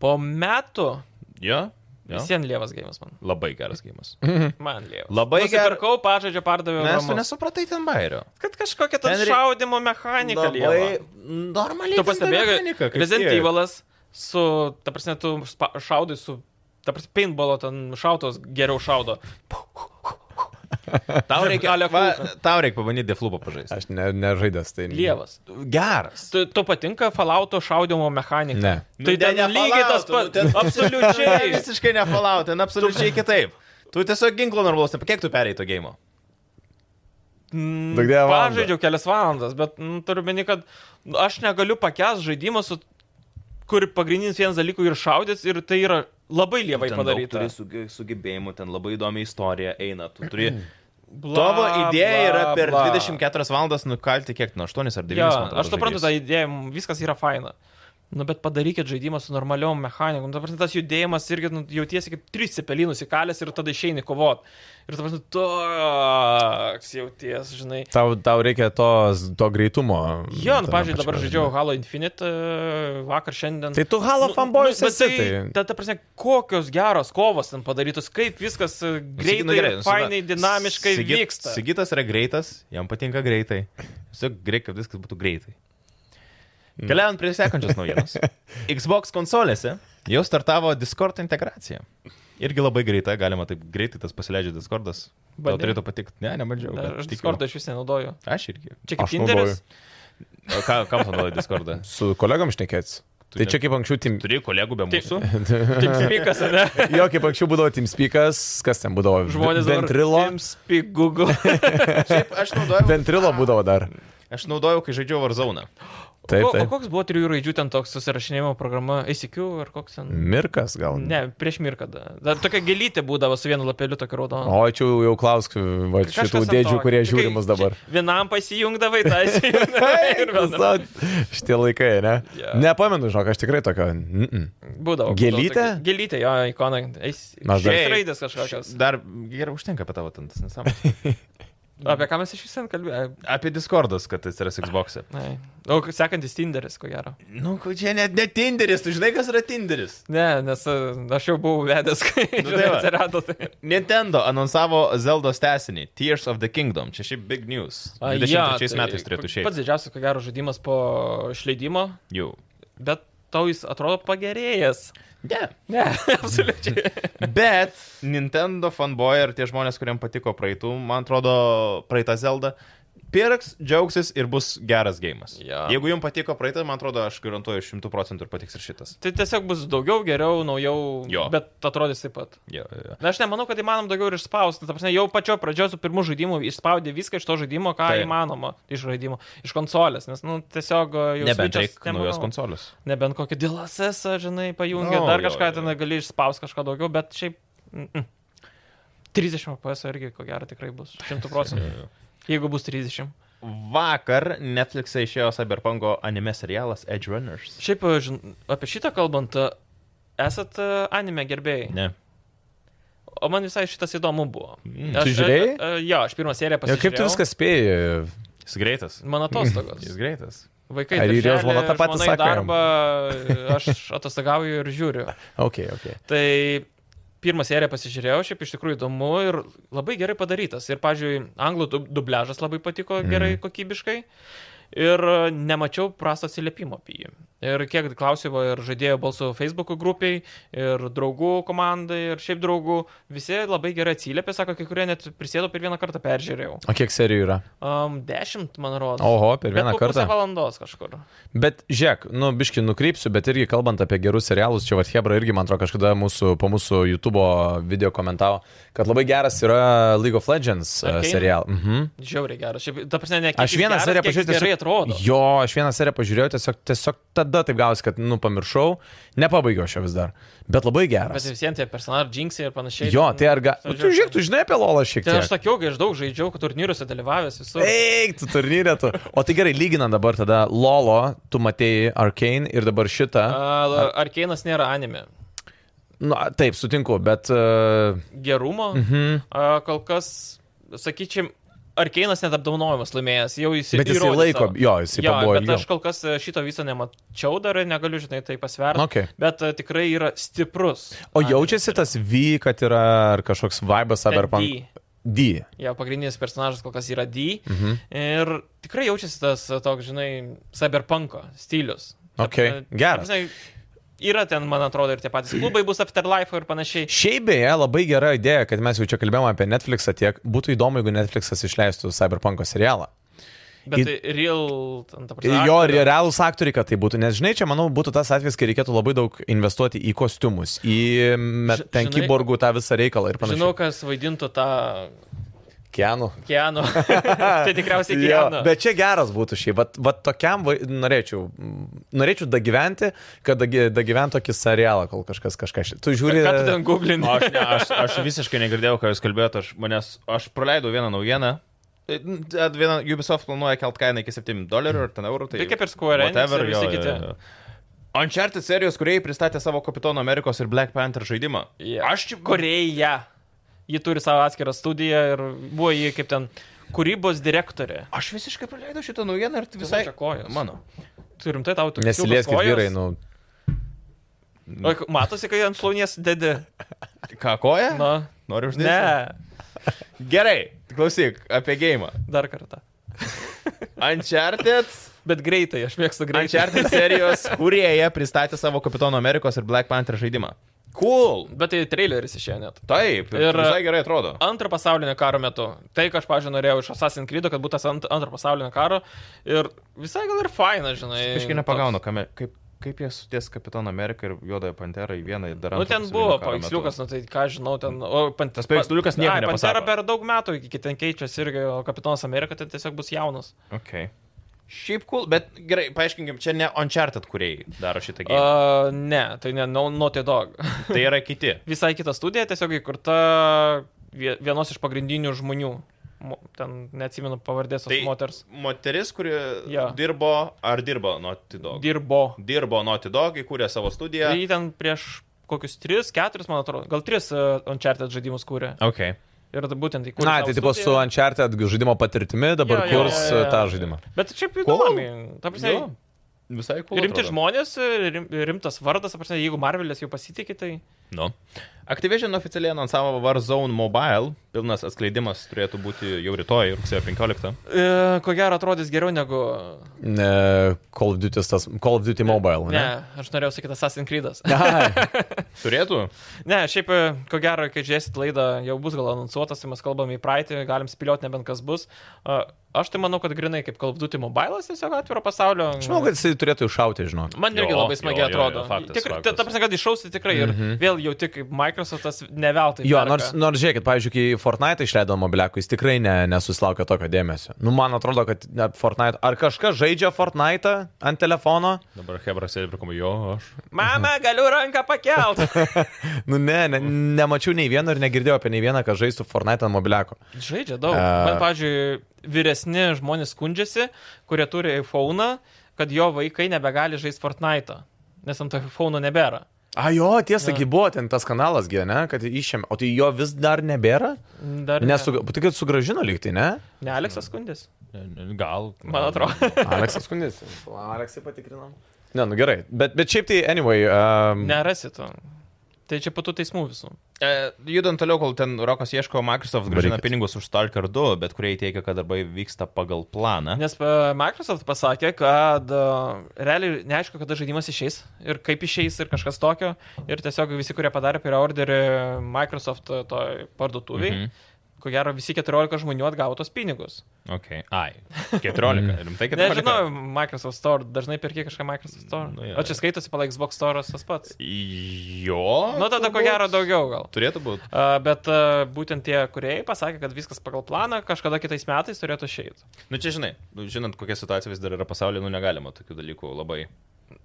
Speaker 4: Po metų
Speaker 1: Jo, jo.
Speaker 4: visien lievas gėjimas man.
Speaker 1: Labai geras gėjimas.
Speaker 4: Man lievas.
Speaker 1: Labai geras.
Speaker 4: Nusipirkau, pažadžiu, pardaviau.
Speaker 1: Nes tu
Speaker 4: ramus.
Speaker 1: nesupratai ten bairio.
Speaker 4: Kad kažkokia ta
Speaker 1: Ten rei-
Speaker 4: šaudimo mechanika lieva.
Speaker 1: normaliai.
Speaker 4: Tu
Speaker 1: tai
Speaker 4: pastebėjai, kad Resident Evilas su, ta prasme, tu spa- šaudai su, ta prasme, paintballo ten šautos geriau šaudo.
Speaker 1: Mm. Tau reikia,
Speaker 4: Ale
Speaker 1: va, tau reikia pabandyti deflupą pažaisti.
Speaker 2: Aš ne- nežaidęs, tai...
Speaker 4: Lievas.
Speaker 1: Geras.
Speaker 4: Tu, tu patinka falauto šaudimo mechanika?
Speaker 2: Ne.
Speaker 4: Tai
Speaker 1: Nu, ne,
Speaker 4: ten
Speaker 1: ne
Speaker 4: lygiai tas
Speaker 1: Falloutų, nu,
Speaker 4: pats.
Speaker 1: ten- Čia
Speaker 4: Absoliučiai.
Speaker 1: visiškai nefalau, ten absoliučiai kitaip. Tu tiesiog ginklo normalus, ne- kiek tu perėjai to gėjimo?
Speaker 2: Duok dieve valandą.
Speaker 4: Mm, Pažaidžiau kelias valandas, bet nu, turiu meni, kad aš negaliu pakęs žaidimą, su, kur pagrindinis vienas dalykų ir šaudės, ir tai yra labai lievai
Speaker 1: Ten daug
Speaker 4: padaryta.
Speaker 1: Turi suge- sugebėjimų, ten labai įdomi istorija eina. Tu turi...
Speaker 4: Bla,
Speaker 1: Tavo idėja yra
Speaker 4: bla,
Speaker 1: per
Speaker 4: bla.
Speaker 1: 24 valandas nukalti kiek, nu, 8 ar 9
Speaker 4: Jo,
Speaker 1: valandas.
Speaker 4: aš suprantu tą idėją, viskas yra faina. Nu, bet padarykit žaidimą su normaliom mechanikom. Ta prasme, tas judėjimas irgi nu, jautiesi kaip trys cepelinus įkalęs ir tada išeini kovot. Ir ta prasme, toks jauties, žinai.
Speaker 2: Tau, tau reikia tos, to greitumo.
Speaker 4: Jo, nu,
Speaker 2: tame
Speaker 4: pažiūrėjau, dabar
Speaker 2: pačiame,
Speaker 4: žaidžiau
Speaker 2: žinai.
Speaker 4: Halo Infinite e, vakar, šiandien. Nu,
Speaker 2: Tai tu Halo fanboys
Speaker 4: bet
Speaker 2: esi, tai-
Speaker 4: Ta, ta prasme, kokios geros kovos ten padarytos, kaip viskas e, greitai,
Speaker 1: nu, gerai,
Speaker 4: nu, fainai,
Speaker 1: Sigita-
Speaker 4: dinamiškai
Speaker 1: Sigi-
Speaker 4: vyksta.
Speaker 1: Sigitas yra greitas, jam patinka greitai. Tiesiog reikia, kad viskas būtų greitai.
Speaker 4: Mm.
Speaker 1: Keliaujant prie sekančios naujienos. Xbox konsolėse jau startavo Discord integracija. Irgi labai greita, galima taip greitai tas pasileidžia Discordas. Tau
Speaker 4: Bandei?
Speaker 1: turėtų patikti. Ne, nebandžiau.
Speaker 4: Dar
Speaker 1: bet
Speaker 4: E, Aš
Speaker 1: tikiu.
Speaker 4: Discordą iš vis nenaudoju.
Speaker 1: Aš irgi.
Speaker 4: Čia kaip
Speaker 2: Aš
Speaker 4: Tinderis.
Speaker 1: O ką, kam panaudoji Discordą?
Speaker 2: Su kolegom šnekėtis.
Speaker 1: Tu
Speaker 2: Tai
Speaker 1: ne-
Speaker 2: čia kaip anksčiau tim...
Speaker 1: Turi kolegų be
Speaker 4: Taip.
Speaker 1: mūsų.
Speaker 4: Tik spikas, ne?
Speaker 2: Jo, kaip anksčiau būdavo TeamSpeakas, kas ten būdavo?
Speaker 4: Žmonės dabar
Speaker 2: Ventrilo.
Speaker 4: Spik Google.
Speaker 1: Šiaip aš naudojau,
Speaker 2: Ventrilo būdavo dar.
Speaker 1: aš naudojau, kai žaidžiau Warzone.
Speaker 2: Taip,
Speaker 4: o, o
Speaker 2: taip.
Speaker 4: koks buvo trijų raidžių ten toks susirašinėjimo programa ACQ ar koks
Speaker 2: Mm.
Speaker 4: ten?
Speaker 2: Mirkas gal.
Speaker 4: Ne, prieš mirkadą. Dar tokia gelytė būdavo su vienu lapeliu tokia raudona.
Speaker 2: O čia jau klausk va,
Speaker 4: Kažkas
Speaker 2: šitų
Speaker 4: ant
Speaker 2: dėdžių,
Speaker 4: to.
Speaker 2: kurie
Speaker 4: Čia kai
Speaker 2: žiūrimus dabar.
Speaker 4: čia Vienam pasijungdavai, tai įsijungdavai ir vėl.
Speaker 2: Visad- Šitie laikai, ne?
Speaker 4: Jo.
Speaker 2: Nepamenu, žinok, aš tikrai tokio. mm, mm.
Speaker 4: Būdavo.
Speaker 2: Gėlytė?
Speaker 4: būdavo tokia- Gėlytė, jo, ikona.
Speaker 2: Mes dar-
Speaker 4: Šiais raidės kažkokios.
Speaker 1: Dar gerai užtenka apie tavo tantas nesąmonės.
Speaker 4: Apie ką mes iš vis ten kalbėjome?
Speaker 1: Apie Discordas, kad jis yra Xbox'e.
Speaker 4: Ai. O sekantis Tinderis, ko gero.
Speaker 1: Nu, ko čia net ne Tinderis, tu žinai, kas yra Tinderis.
Speaker 4: Ne, nes e, aš jau buvau vedęs, kai
Speaker 1: Nu,
Speaker 4: žinai,
Speaker 1: tai va.
Speaker 4: atsirado. Tai.
Speaker 1: Nintendo anonsavo Zeldos tesinį Tears of the Kingdom. Čia šiaip big news.
Speaker 4: A,
Speaker 1: 23
Speaker 4: jo,
Speaker 1: ja,
Speaker 4: tai
Speaker 1: metais turėtų išeiti.
Speaker 4: Pats didžiausias, ko gero, žaidimas po išleidimo,
Speaker 1: Jau.
Speaker 4: bet tau jis atrodo pagerėjęs.
Speaker 1: Ne.
Speaker 4: Ne, absoliučiai.
Speaker 1: Bet Nintendo fanboy ir tie žmonės, kuriems patiko praeitų, man atrodo, praeitą Zeldą, pirks, džiaugsis ir bus geras gėjimas.
Speaker 4: Jo.
Speaker 1: Jeigu jums patiko praeitą, man atrodo, aš garantuoju 100 procentų ir patiks ir šitas.
Speaker 4: Tai tiesiog bus daugiau, geriau, naujau,
Speaker 1: Jo.
Speaker 4: bet atrodys taip pat.
Speaker 1: Jo, jo, jo.
Speaker 4: Na, aš nemanau, kad įmanom daugiau ir išspausti. Ta prasme, jau pačio pradžio su pirmu žaidimu išspaudė viską iš to žaidimo, ką
Speaker 1: Taip.
Speaker 4: tai. įmanoma iš žaidimo, iš konsolės, nes, nu, tiesiog e, jau...
Speaker 1: Nebent
Speaker 4: Switch'as,
Speaker 1: reikia
Speaker 4: nemanau.
Speaker 1: naujos konsolės.
Speaker 4: Nebent kokį DLSS, žinai, pajungia,
Speaker 1: Nu,
Speaker 4: no, dar
Speaker 1: jo,
Speaker 4: kažką
Speaker 1: jo.
Speaker 4: ten gali išspausti kažką daugiau, bet šiaip... Mm -mm. 30 FPS irgi, ko gero, tikrai bus. 100 procentų. Jeigu bus 30.
Speaker 1: Vakar Netflix'e išėjo Cyberpunko anime serialas Edge Runners.
Speaker 4: Šiaip, e, žin, apie šitą kalbant, e, esat e, anime gerbėjai.
Speaker 1: Ne.
Speaker 4: O man visai šitas įdomu buvo.
Speaker 1: Mm.
Speaker 4: Aš-
Speaker 2: Tu žiūrėjai?
Speaker 4: e, e, Jo, aš pirmą seriją
Speaker 2: Jo,
Speaker 4: pasižiūrėjau.
Speaker 2: kaip tu viską spėjai?
Speaker 1: Jis greitas.
Speaker 4: Mano atostogos.
Speaker 1: Jis greitas.
Speaker 4: Vaikai.
Speaker 2: Hmm, Ar ir jo
Speaker 4: darželį,
Speaker 2: žmona tą patį
Speaker 4: žmona į
Speaker 2: sako jam?
Speaker 4: Darbą, aš atostogauju ir žiūriu.
Speaker 2: Ok, ok.
Speaker 4: Tai pirmą seriją pasižiūrėjau, šiaip iš tikrųjų įdomu ir labai gerai padarytas. Ir, pavyzdžiui, anglų dub- dubležas labai patiko
Speaker 2: Hmm.
Speaker 4: gerai kokybiškai. Ir e, nemačiau prasto atsiliepimo apie jį. Ir kiek klausiau va, ir žaidėjo balsų Facebook grupiai, ir draugų komandai, ir šiaip draugų, visi labai gerai atsiliepė, sako, kai kurie net prisėdo per vieną kartą peržiūrėjau.
Speaker 2: O kiek serijų yra?
Speaker 4: Um, dešimt, man rodos.
Speaker 2: Oho, per vieną
Speaker 4: Bet po
Speaker 2: kartą.
Speaker 4: Pusę valandos kažkur.
Speaker 2: Bet žiūrėk, nu, biški nukrypsiu, bet irgi kalbant apie gerus serialus, čia Vathebra irgi, man atrodo, kažkada mūsų, po mūsų YouTube video komentavo, kad labai geras yra League of Legends okay.
Speaker 4: Arcane?
Speaker 2: serialas. Mhm.
Speaker 4: Žiauriai geras. Šiaip, ta prasme, ne kiek
Speaker 2: Aš
Speaker 4: jis
Speaker 2: vieną
Speaker 4: geras,
Speaker 2: seriją
Speaker 4: kiek jis
Speaker 2: pažiūrėjau.
Speaker 4: Gerai atrodo.
Speaker 2: Jo, aš vieną seriją pažiūrėjau, tiesiog, tiesiog tada taip gausi, kad, nu, pamiršau, nepabaigiau šio vis dar. Bet labai
Speaker 4: Bet
Speaker 2: geras.
Speaker 4: visiems tie personažai, džinksai ir panašiai.
Speaker 2: Jo,
Speaker 4: ten-
Speaker 2: tai ar ga...
Speaker 4: ten
Speaker 2: Nu, Tu
Speaker 4: žiauriai-
Speaker 2: žiūrėk, tu žinai apie Lolą šiek
Speaker 4: Tai aš
Speaker 2: tiek.
Speaker 4: sakiau, kai aš daug žaidžiau, kad turnyruose dalyvavęs visur.
Speaker 2: Eik, tu turnyrė tu. O tai gerai, lyginant dabar tada Lolo, tu matėjai Arkane ir dabar šitą.
Speaker 4: Uh, Arkeinas nėra anime.
Speaker 2: Nu, taip, sutinku, bet... Uh,
Speaker 4: Gerumo. Mhm. Uh, kol kas, sakyčiau, Arkeinas net apdaunojimas laimėjęs. Jau jis
Speaker 2: Bet jisai
Speaker 4: įrodė
Speaker 2: laiko-
Speaker 4: savo.
Speaker 2: jo, jisai pabuvo
Speaker 4: Bet
Speaker 2: ilgiau.
Speaker 4: aš kol kas e, šito viso nemačiau dar, ir negaliu, žinai, tai pasverti.
Speaker 2: Ok.
Speaker 4: Bet uh, tikrai yra stiprus.
Speaker 2: O
Speaker 4: anime.
Speaker 2: jaučiasi tas V, kad yra ar kažkoks vibas
Speaker 4: Ten
Speaker 2: cyberpunk?
Speaker 4: D.
Speaker 2: D.
Speaker 4: Jo pagrindinis personažas kol kas yra D. Mhm. Ir tikrai jaučiasi tas e, toks, žinai, cyberpunko stilius. Ta
Speaker 2: Ok,
Speaker 4: prasme- ta
Speaker 2: geras.
Speaker 4: prasme, Yra ten, man atrodo, ir tie patys klubai bus Afterlife ir panašiai.
Speaker 2: Šiaip beje, labai gera idėja, kad mes jau čia kalbėjome apie Netflixą tiek. Būtų įdomu, jeigu Netflixas išleistų cyberpunko serialą.
Speaker 4: Bet
Speaker 2: Į-
Speaker 4: tai real, ten, ta prasme.
Speaker 2: Jo, ir
Speaker 4: aktorių.
Speaker 2: realūs aktoriai, kad tai būtų. Nes, žinai, čia, manau, būtų tas atvejis, kai reikėtų labai daug investuoti į kostiumus, į me-
Speaker 4: Ži-
Speaker 2: ten
Speaker 4: žinai-
Speaker 2: kiborgų tą visą reikalą ir panašiai.
Speaker 4: Žinau, kas vaidintų tą
Speaker 2: Kienu.
Speaker 4: Keanu. tai tikriausiai Keanu.
Speaker 2: bet čia geras būtų šiaip, bet, bet tokiam vai- norėčiau, norėčiau dagyventi, kad dagi- dagyvent tokį serialą, kol kažkas kažką. ši- Tu žiūri.
Speaker 4: Ką tu ten googlini?
Speaker 1: Nu, Aš, ne, aš, aš visiškai negirdėjau, ką jūs kalbėjote, aš, manęs, aš praleidau vieną naujieną. E, n- e, Viena, Ubisoft planuoja kelt kainą iki 7 dolerių ar ten eurų. Tai
Speaker 4: Tai kaip ir Square Enix ir
Speaker 1: whatever,
Speaker 4: visi kiti.
Speaker 1: jo. Uncharted serijos kuriai pristatė savo Kapitono Amerikos ir Black Panther žaidimą.
Speaker 4: Yeah.
Speaker 1: Aš čia...
Speaker 4: Koreja. Ji turi savo atskirą studiją ir buvo ji kaip ten kūrybos direktorė.
Speaker 1: Aš visiškai praleidau šitą naujieną ir visai...
Speaker 4: Tavo čia kojos.
Speaker 1: Mano.
Speaker 4: Turim tai tau tokius.
Speaker 2: Nesilieskit vyrai, nu.
Speaker 4: O, k- matosi, kai ant šlaunies dedi.
Speaker 1: Ką koja?
Speaker 4: Na.
Speaker 1: Noriu uždėti.
Speaker 4: Ne,
Speaker 1: Ne. Gerai, klausyk apie gėjimą.
Speaker 4: dar kartą.
Speaker 1: Uncharted.
Speaker 4: Bet greitai, aš mėgstu greitai.
Speaker 1: Uncharted serijos kurieje pristatė savo Kapitono Amerikos ir Black Panther žaidimą. Cool.
Speaker 4: Bet tai traileris išėjo net.
Speaker 1: Taip, ir
Speaker 4: Ir-
Speaker 1: visai gerai atrodo.
Speaker 4: Antro pasaulinio karo metu. Tai, ką aš, pažiūrėjau, norėjau iš Assassin's Creed, kad būtų tas ant, antro pasaulinio karo. Ir visai gal ir faina, žinai.
Speaker 1: Kažkiek nepagaunu, kame, kaip, kaip jie suties Kapitoną Ameriką ir Juodąją Panterą į vieną dar
Speaker 4: Na, nu, ten buvo paveiksliukas, nu tai ką aš žinau, ten... O, pan,
Speaker 1: Tas paveiksliukas nieko
Speaker 4: Ai, Pantera
Speaker 1: nepasako.
Speaker 4: per daug metų, iki ten keičiasi irgi, o Kapitonas Amerika ten tiesiog bus jaunas.
Speaker 1: Okay. Šiaip cool, bet gerai, paaiškinkim, čia ne Uncharted kuriai daro šitą gėjimą.
Speaker 4: Uh, ne, tai ne no, Naughty Dog.
Speaker 1: Uh. Tai yra kiti.
Speaker 4: Visai kita studija, tiesiog įkurta vie- vienos iš pagrindinių žmonių. Mo- Ten neatsimenu pavardės tos
Speaker 1: Tai-
Speaker 4: tai... moters.
Speaker 1: Moteris, kuri ja.
Speaker 4: Jo.
Speaker 1: dirbo ar dirbo Naughty Dog. Dir
Speaker 4: Dirbo.
Speaker 1: dirbo Naughty Dog, įkūrė savo studiją.
Speaker 4: Ja. Tai ji ten prieš kokius 3, 4, man atrodo, gal 3 uh, Uncharted žaidimus kūrė.
Speaker 1: Okay.
Speaker 4: Ir tada būtent įkūrė.
Speaker 2: Na,
Speaker 4: savo
Speaker 2: tai tipo su
Speaker 4: studiją.
Speaker 2: Uncharted žaidimo patirtimi dabar
Speaker 4: Jo, jo,
Speaker 2: kurs
Speaker 4: jo, jo,
Speaker 2: e, tą
Speaker 4: jo.
Speaker 2: žaidimą.
Speaker 4: Bet šiaip
Speaker 1: Cool.
Speaker 4: įdomu. Ta prasme,
Speaker 1: Jo. Visai cool.
Speaker 4: Rimti
Speaker 1: atrodo.
Speaker 4: žmonės, e, rim, rimtas vardas, ta prasme, jeigu Marvelis jau pasitikė, tai...
Speaker 1: Nu. Activision oficialiai anonsavo Warzone Mobile. Pilnas atskleidimas turėtų būti jau rytoj, rugsėjo 15.
Speaker 4: E, ko gero atrodys geriau negu...
Speaker 2: Ne, Call of Duty, tas, Call of Duty Mobile,
Speaker 4: Ne,
Speaker 2: ne?
Speaker 4: aš norėjau sakyti Assassin's Creed'as.
Speaker 2: Ai,
Speaker 1: Turėtų?
Speaker 4: ne, šiaip, e, ko gero, kai žiūrėsit laidą, jau bus gal anonsuotas, tai mes kalbam į praeitį, galim spėlioti nebent kas bus. E, aš tai manau, kad grinai kaip Call of Duty mobilas tiesiog atviro pasaulio.
Speaker 2: Aš manau, kad jisai turėtų iššauti, žinau.
Speaker 4: Man irgi
Speaker 1: Jo,
Speaker 4: labai
Speaker 1: jo,
Speaker 4: smagiai
Speaker 1: jo,
Speaker 4: atrodo.
Speaker 1: jo, faktas,
Speaker 4: Tik, ta,
Speaker 1: faktas.
Speaker 4: ta prasme, kad išausti tikrai ir vėl jau tik Microsoftas
Speaker 2: Mhm.
Speaker 4: neveltai.
Speaker 2: Jo,
Speaker 4: perka.
Speaker 2: nors, nors žiūrėkit, pavyzdžiui, kai Fortnite išleido mobiliakų, jis tikrai ne, nesusilaukė tokio dėmesio. Nu, man atrodo, kad ne, Fortnite. Ar kažkas žaidžia Fortnite ant telefono?
Speaker 1: Dabar Hebra sėdi prie komo, jo, aš.
Speaker 4: Mama,
Speaker 2: Mhm.
Speaker 4: galiu ranką pakelt.
Speaker 2: Nu, ne, ne, nemačiau nei vieno ir negirdėjau apie nei vieną, kad žaistų Fortnite ant mobiliakų.
Speaker 4: Žaidžia daug.
Speaker 2: E.
Speaker 4: Man, pavyzdžiui, vyresni žmonės skundžiasi, kurie turi iPhone, kad jo vaikai nebegali žaisti Fortnite, nes ant to iPhone nebėra.
Speaker 2: A jo, tiesa, gi buvo ten tas kanalas, gi, ne, kad išėmė. O tai jo vis dar nebėra?
Speaker 4: Dar
Speaker 2: Nesu, tik kad sugražino lygtai, ne?
Speaker 4: Ne, Aleksas skundės.
Speaker 1: Gal.
Speaker 4: Man atrodo.
Speaker 2: Aleksas skundėsi. Aleksai patikrinom. Ne, nu gerai. Bet, bet šiaip tai, anyway.
Speaker 1: Mm.
Speaker 2: Um,
Speaker 4: Nerasit. Tai čia patų teismų visų.
Speaker 1: E, judant toliau, kol ten Rokas ieško, Microsoft grąžina
Speaker 2: Varykit.
Speaker 1: pinigus už Stalker 2, bet kurie teigia, kad darbai vyksta pagal planą.
Speaker 4: Nes e, Microsoft pasakė, kad e, realiai neaišku, kada žaidimas išeis ir kaip išeis ir kažkas tokio. Ir tiesiog visi, kurie padarė preorderį Microsoft e, toj parduotuviai, mm
Speaker 1: Mhm.
Speaker 4: -hmm. ko gero visi 14 žmonių atgavo tos pinigus.
Speaker 1: Okay. Ai. 14. Rimtai 14.
Speaker 4: Nežinau, Microsoft Store, dažnai perki kažką Microsoft Store.
Speaker 1: Nu,
Speaker 4: Nu,
Speaker 1: jo.
Speaker 4: o čia skaitosi pala Xbox Store tas pats.
Speaker 1: Jo.
Speaker 4: Nu, tada ko
Speaker 1: turbūt.
Speaker 4: gero daugiau gal.
Speaker 1: Turėtų būti.
Speaker 4: Uh, bet uh, būtent tie kuriejai pasakė, kad viskas pagal planą kažkada kitais metais turėtų išeiti.
Speaker 1: Nu čia žinai, nu, žinant, kokia situacija vis dar yra pasaulyje, nu negalima tokių dalykų labai.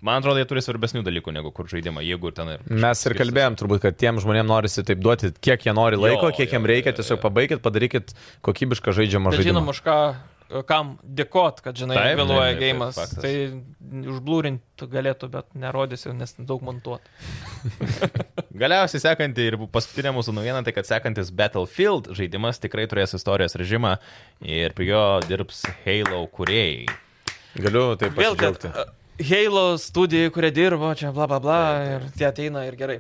Speaker 1: Man atrodo, jie turi svarbesnių dalykų negu kur žaidimą, jeigu ir ten ir.
Speaker 2: Mes ir kalbėjom turbūt, kad tiem žmonėm norisi taip duoti, kiek jie nori laiko,
Speaker 1: Jo,
Speaker 2: jo, kiek jiem
Speaker 1: jo,
Speaker 2: reikia,
Speaker 1: jo,
Speaker 2: tiesiog
Speaker 1: jo.
Speaker 2: pabaikit, padarykit kokybišką žaidžiamą
Speaker 4: Bet žinom,
Speaker 2: žaidimą.
Speaker 4: už ką, e, kam dėkot, kad, žinai,
Speaker 1: Taip,
Speaker 4: taip, vėluoja
Speaker 1: taip, taip,
Speaker 4: gėjimas.
Speaker 1: faktas.
Speaker 4: Tai užblūrinti galėtų, bet nerodysiu, nes daug montuot.
Speaker 1: Galiausiai sekanti ir paskutinė mūsų naujiena, tai kad sekantis Battlefield žaidimas tikrai turės istorijos režimą ir prie jo dirbs Halo kuriejai.
Speaker 2: Galiu taip
Speaker 4: Vėl kad
Speaker 2: pasidžiaugti.
Speaker 4: e, Halo studijai, kurie dirbo, čia bla bla bla, ir tie ateina ir gerai.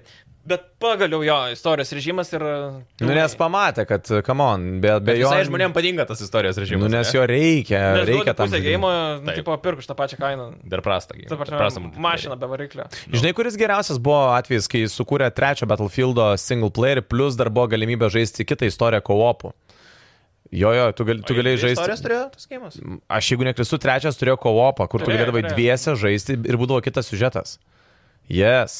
Speaker 4: Bet pagaliau jo istorijos režimas ir...
Speaker 2: Nu, nes pamatė, kad, come on, be, be jo...
Speaker 1: Visai žmonėm patinka tas istorijos režimas.
Speaker 2: Nu, nes jo reikia,
Speaker 4: Nes
Speaker 2: reikia tam.
Speaker 4: pusę
Speaker 2: žaidimui.
Speaker 4: gėjimo, nu,
Speaker 1: Taip.
Speaker 4: tipo, pirku už tą pačią kainą.
Speaker 1: Dar prastą gėjimą.
Speaker 4: Ta prasme, mašina be variklio.
Speaker 2: Žinai, kuris geriausias buvo atvejis, kai sukūrė trečią Battlefield'o single player, plus dar buvo galimybė žaisti kitą istoriją co-opų. Jo, jo, tu, gali, tu galėjai žaisti.
Speaker 1: Istorijos turėjo tas gėjimas?
Speaker 2: Aš jeigu nekristu, trečias turėjo koopą, kur tu
Speaker 4: Turėjo,
Speaker 2: galėdavai
Speaker 4: turėjo.
Speaker 2: dviese žaisti ir būdavo kitas siužetas. Jes,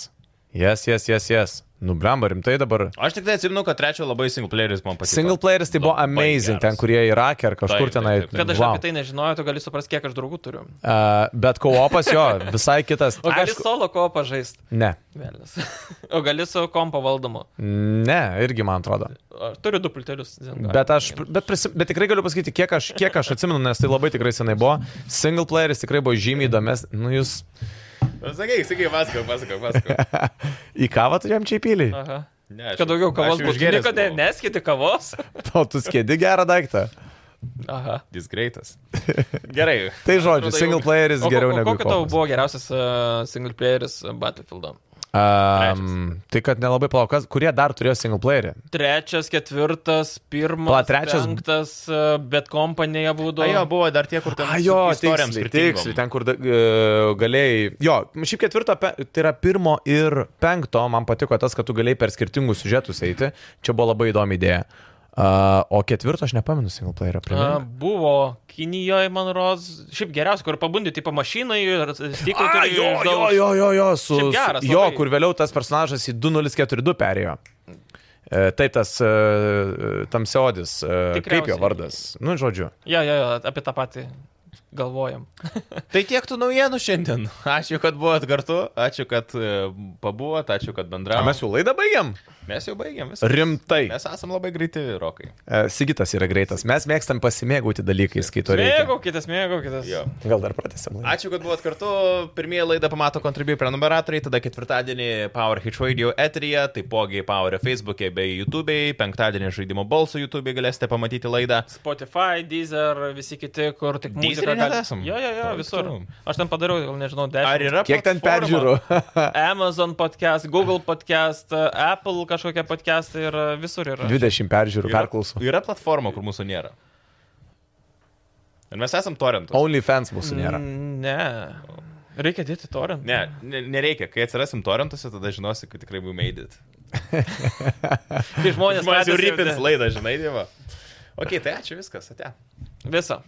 Speaker 2: jes, jes, jes, jes. Nu, blemba, rimtai dabar.
Speaker 1: Aš tik tai atsimenu, kad trečio labai single playeris man patiko.
Speaker 2: Single playeris tai buvo
Speaker 1: Labai
Speaker 2: amazing,
Speaker 1: geras.
Speaker 2: ten kurie Irake ar
Speaker 1: Taip,
Speaker 2: kažkur
Speaker 1: taip,
Speaker 2: tenai.
Speaker 1: taip, taip.
Speaker 4: Kad aš
Speaker 2: Wow.
Speaker 4: apie tai nežinojau, tu gali suprasti, kiek aš draugų turiu.
Speaker 2: Uh, bet koopas jo, visai kitas.
Speaker 4: O gali
Speaker 2: Aišku-
Speaker 4: solo ko pažaist?
Speaker 2: Ne,
Speaker 4: Vėlės. O gali su kompo valdomu.
Speaker 2: ne, irgi man atrodo.
Speaker 4: Aš turiu du pultelius. Zen Guardian.
Speaker 2: Bet, aš, bet, prisim, bet tikrai galiu pasakyti, kiek aš, kiek aš atsimenu, nes tai labai tikrai senai buvo. Single playeris tikrai buvo žymiai įdomes. Nu, jūs
Speaker 1: Sakyk, sakyk, pasakok, pasakok, pasakok.
Speaker 2: Į kavą turėjom čia įpylį.
Speaker 4: Aha.
Speaker 1: Ne, aš-
Speaker 4: Kad daugiau kavos
Speaker 1: aš jau
Speaker 4: būtų.
Speaker 1: išgėręs
Speaker 4: Niekada
Speaker 1: buvau.
Speaker 4: neskiti kavos.
Speaker 2: O tu skėdi gerą daiktą.
Speaker 4: Aha.
Speaker 1: Jis greitas. Gerai.
Speaker 2: Tai žodžiu,
Speaker 1: Atrodo, jau-
Speaker 2: single playeris
Speaker 4: O ko-
Speaker 2: geriau
Speaker 4: o
Speaker 2: negu
Speaker 4: Kokia tau
Speaker 2: kopas.
Speaker 4: buvo geriausias uh, single playeris Battlefield?
Speaker 2: Um, tai kad nelabai plaukas, kurie dar turėjo single playerį.
Speaker 4: Trečias, ketvirtas, pirmas,
Speaker 2: Pala, trečias-
Speaker 4: penktas, uh, bet kompanija būdavo.
Speaker 1: A, jo, buvo dar tie, kur ten...
Speaker 2: A, jo,
Speaker 1: su istorijom
Speaker 2: tiksliai,
Speaker 1: skirtingom.
Speaker 2: tiksliai, ten kur da, e, galėjai. Jo, šiaip ketvirto, pe, tai yra pirmo ir penkto, man patiko tas, kad tu galėjai per skirtingus siužetus eiti. Čia buvo labai įdomi idėja. Uh, o ketvirto aš nepamenu single playerio.
Speaker 4: A,
Speaker 1: Mhm.
Speaker 2: primink.
Speaker 4: E, buvo Kinijoje, man rodos, šiaip geriausia, kur pabundi, tipo mašinai ir stiklai
Speaker 2: A,
Speaker 4: turi
Speaker 2: jo, jo, jo, jo, jo, su,
Speaker 4: Šiaip geras
Speaker 2: su, jo
Speaker 4: labai.
Speaker 2: kur vėliau tas personažas į 2042 perėjo. E, Tai tas uh, tamsiodis, uh, kaip jo
Speaker 4: Tikriausiai.
Speaker 2: vardas. Nu, žodžiu.
Speaker 4: Jo, jo, jo, apie tą patį galvojam.
Speaker 1: Tai tiek tų naujienų šiandien. Ačiū, kad buvot kartu, ačiū, kad e, pabuvot, ačiū, kad
Speaker 2: A,
Speaker 1: bendravot.
Speaker 2: mes jau laidą baigiam.
Speaker 1: mes jau baigėm visą.
Speaker 2: Rimtai.
Speaker 1: Mes esam labai greiti, rokai.
Speaker 2: E, Sigitas yra greitas. Mes mėgstam pasimėgauti dalykais, kai to reikia.
Speaker 4: Mėgaukitės, mėgaukitės.
Speaker 1: Jo.
Speaker 2: Gal dar pratęsim laidą.
Speaker 1: Ačiū, kad buvot kartu. Pirmieji laidą pamato kontribui prenumeratoriai, tada ketvirtadienį Power Hit Radio eterija, taipogi Power Facebook'e bei YouTube'e, penktadienį žaidimo balsų YouTube'e galėsite pamatyti laidą.
Speaker 4: Spotify, Deezer, visi kiti, kur tik
Speaker 1: Deezery
Speaker 4: muzika.
Speaker 1: net esam.
Speaker 4: Jo, jo, jo,
Speaker 1: Taip,
Speaker 4: visur.
Speaker 1: tu.
Speaker 4: Aš ten padariau, gal nežinau, 10.
Speaker 1: Ar yra
Speaker 2: Kiek ten
Speaker 1: platforma?
Speaker 2: peržiūrų?
Speaker 4: Amazon podcast, Google podcast, Apple kažkokie podcast ir e, visur yra.
Speaker 2: 20 peržiūrų,
Speaker 1: Yra-
Speaker 2: perklausų.
Speaker 1: Yra platforma, kur mūsų nėra. Ir mes esam torentus.
Speaker 2: OnlyFans mūsų nėra.
Speaker 4: Ne. Reikia dėti torint.
Speaker 1: Ne, ne, nereikia. Kai atsirasim torentuose, tada žinosi, kad tikrai buvau meidit.
Speaker 4: Tai
Speaker 1: Žmonės
Speaker 4: žmonės,
Speaker 1: jau
Speaker 4: patys
Speaker 1: rypins
Speaker 4: te-
Speaker 1: laidą, žinai, dievo. Ok, tai ačiū viskas, ate.
Speaker 4: Visą.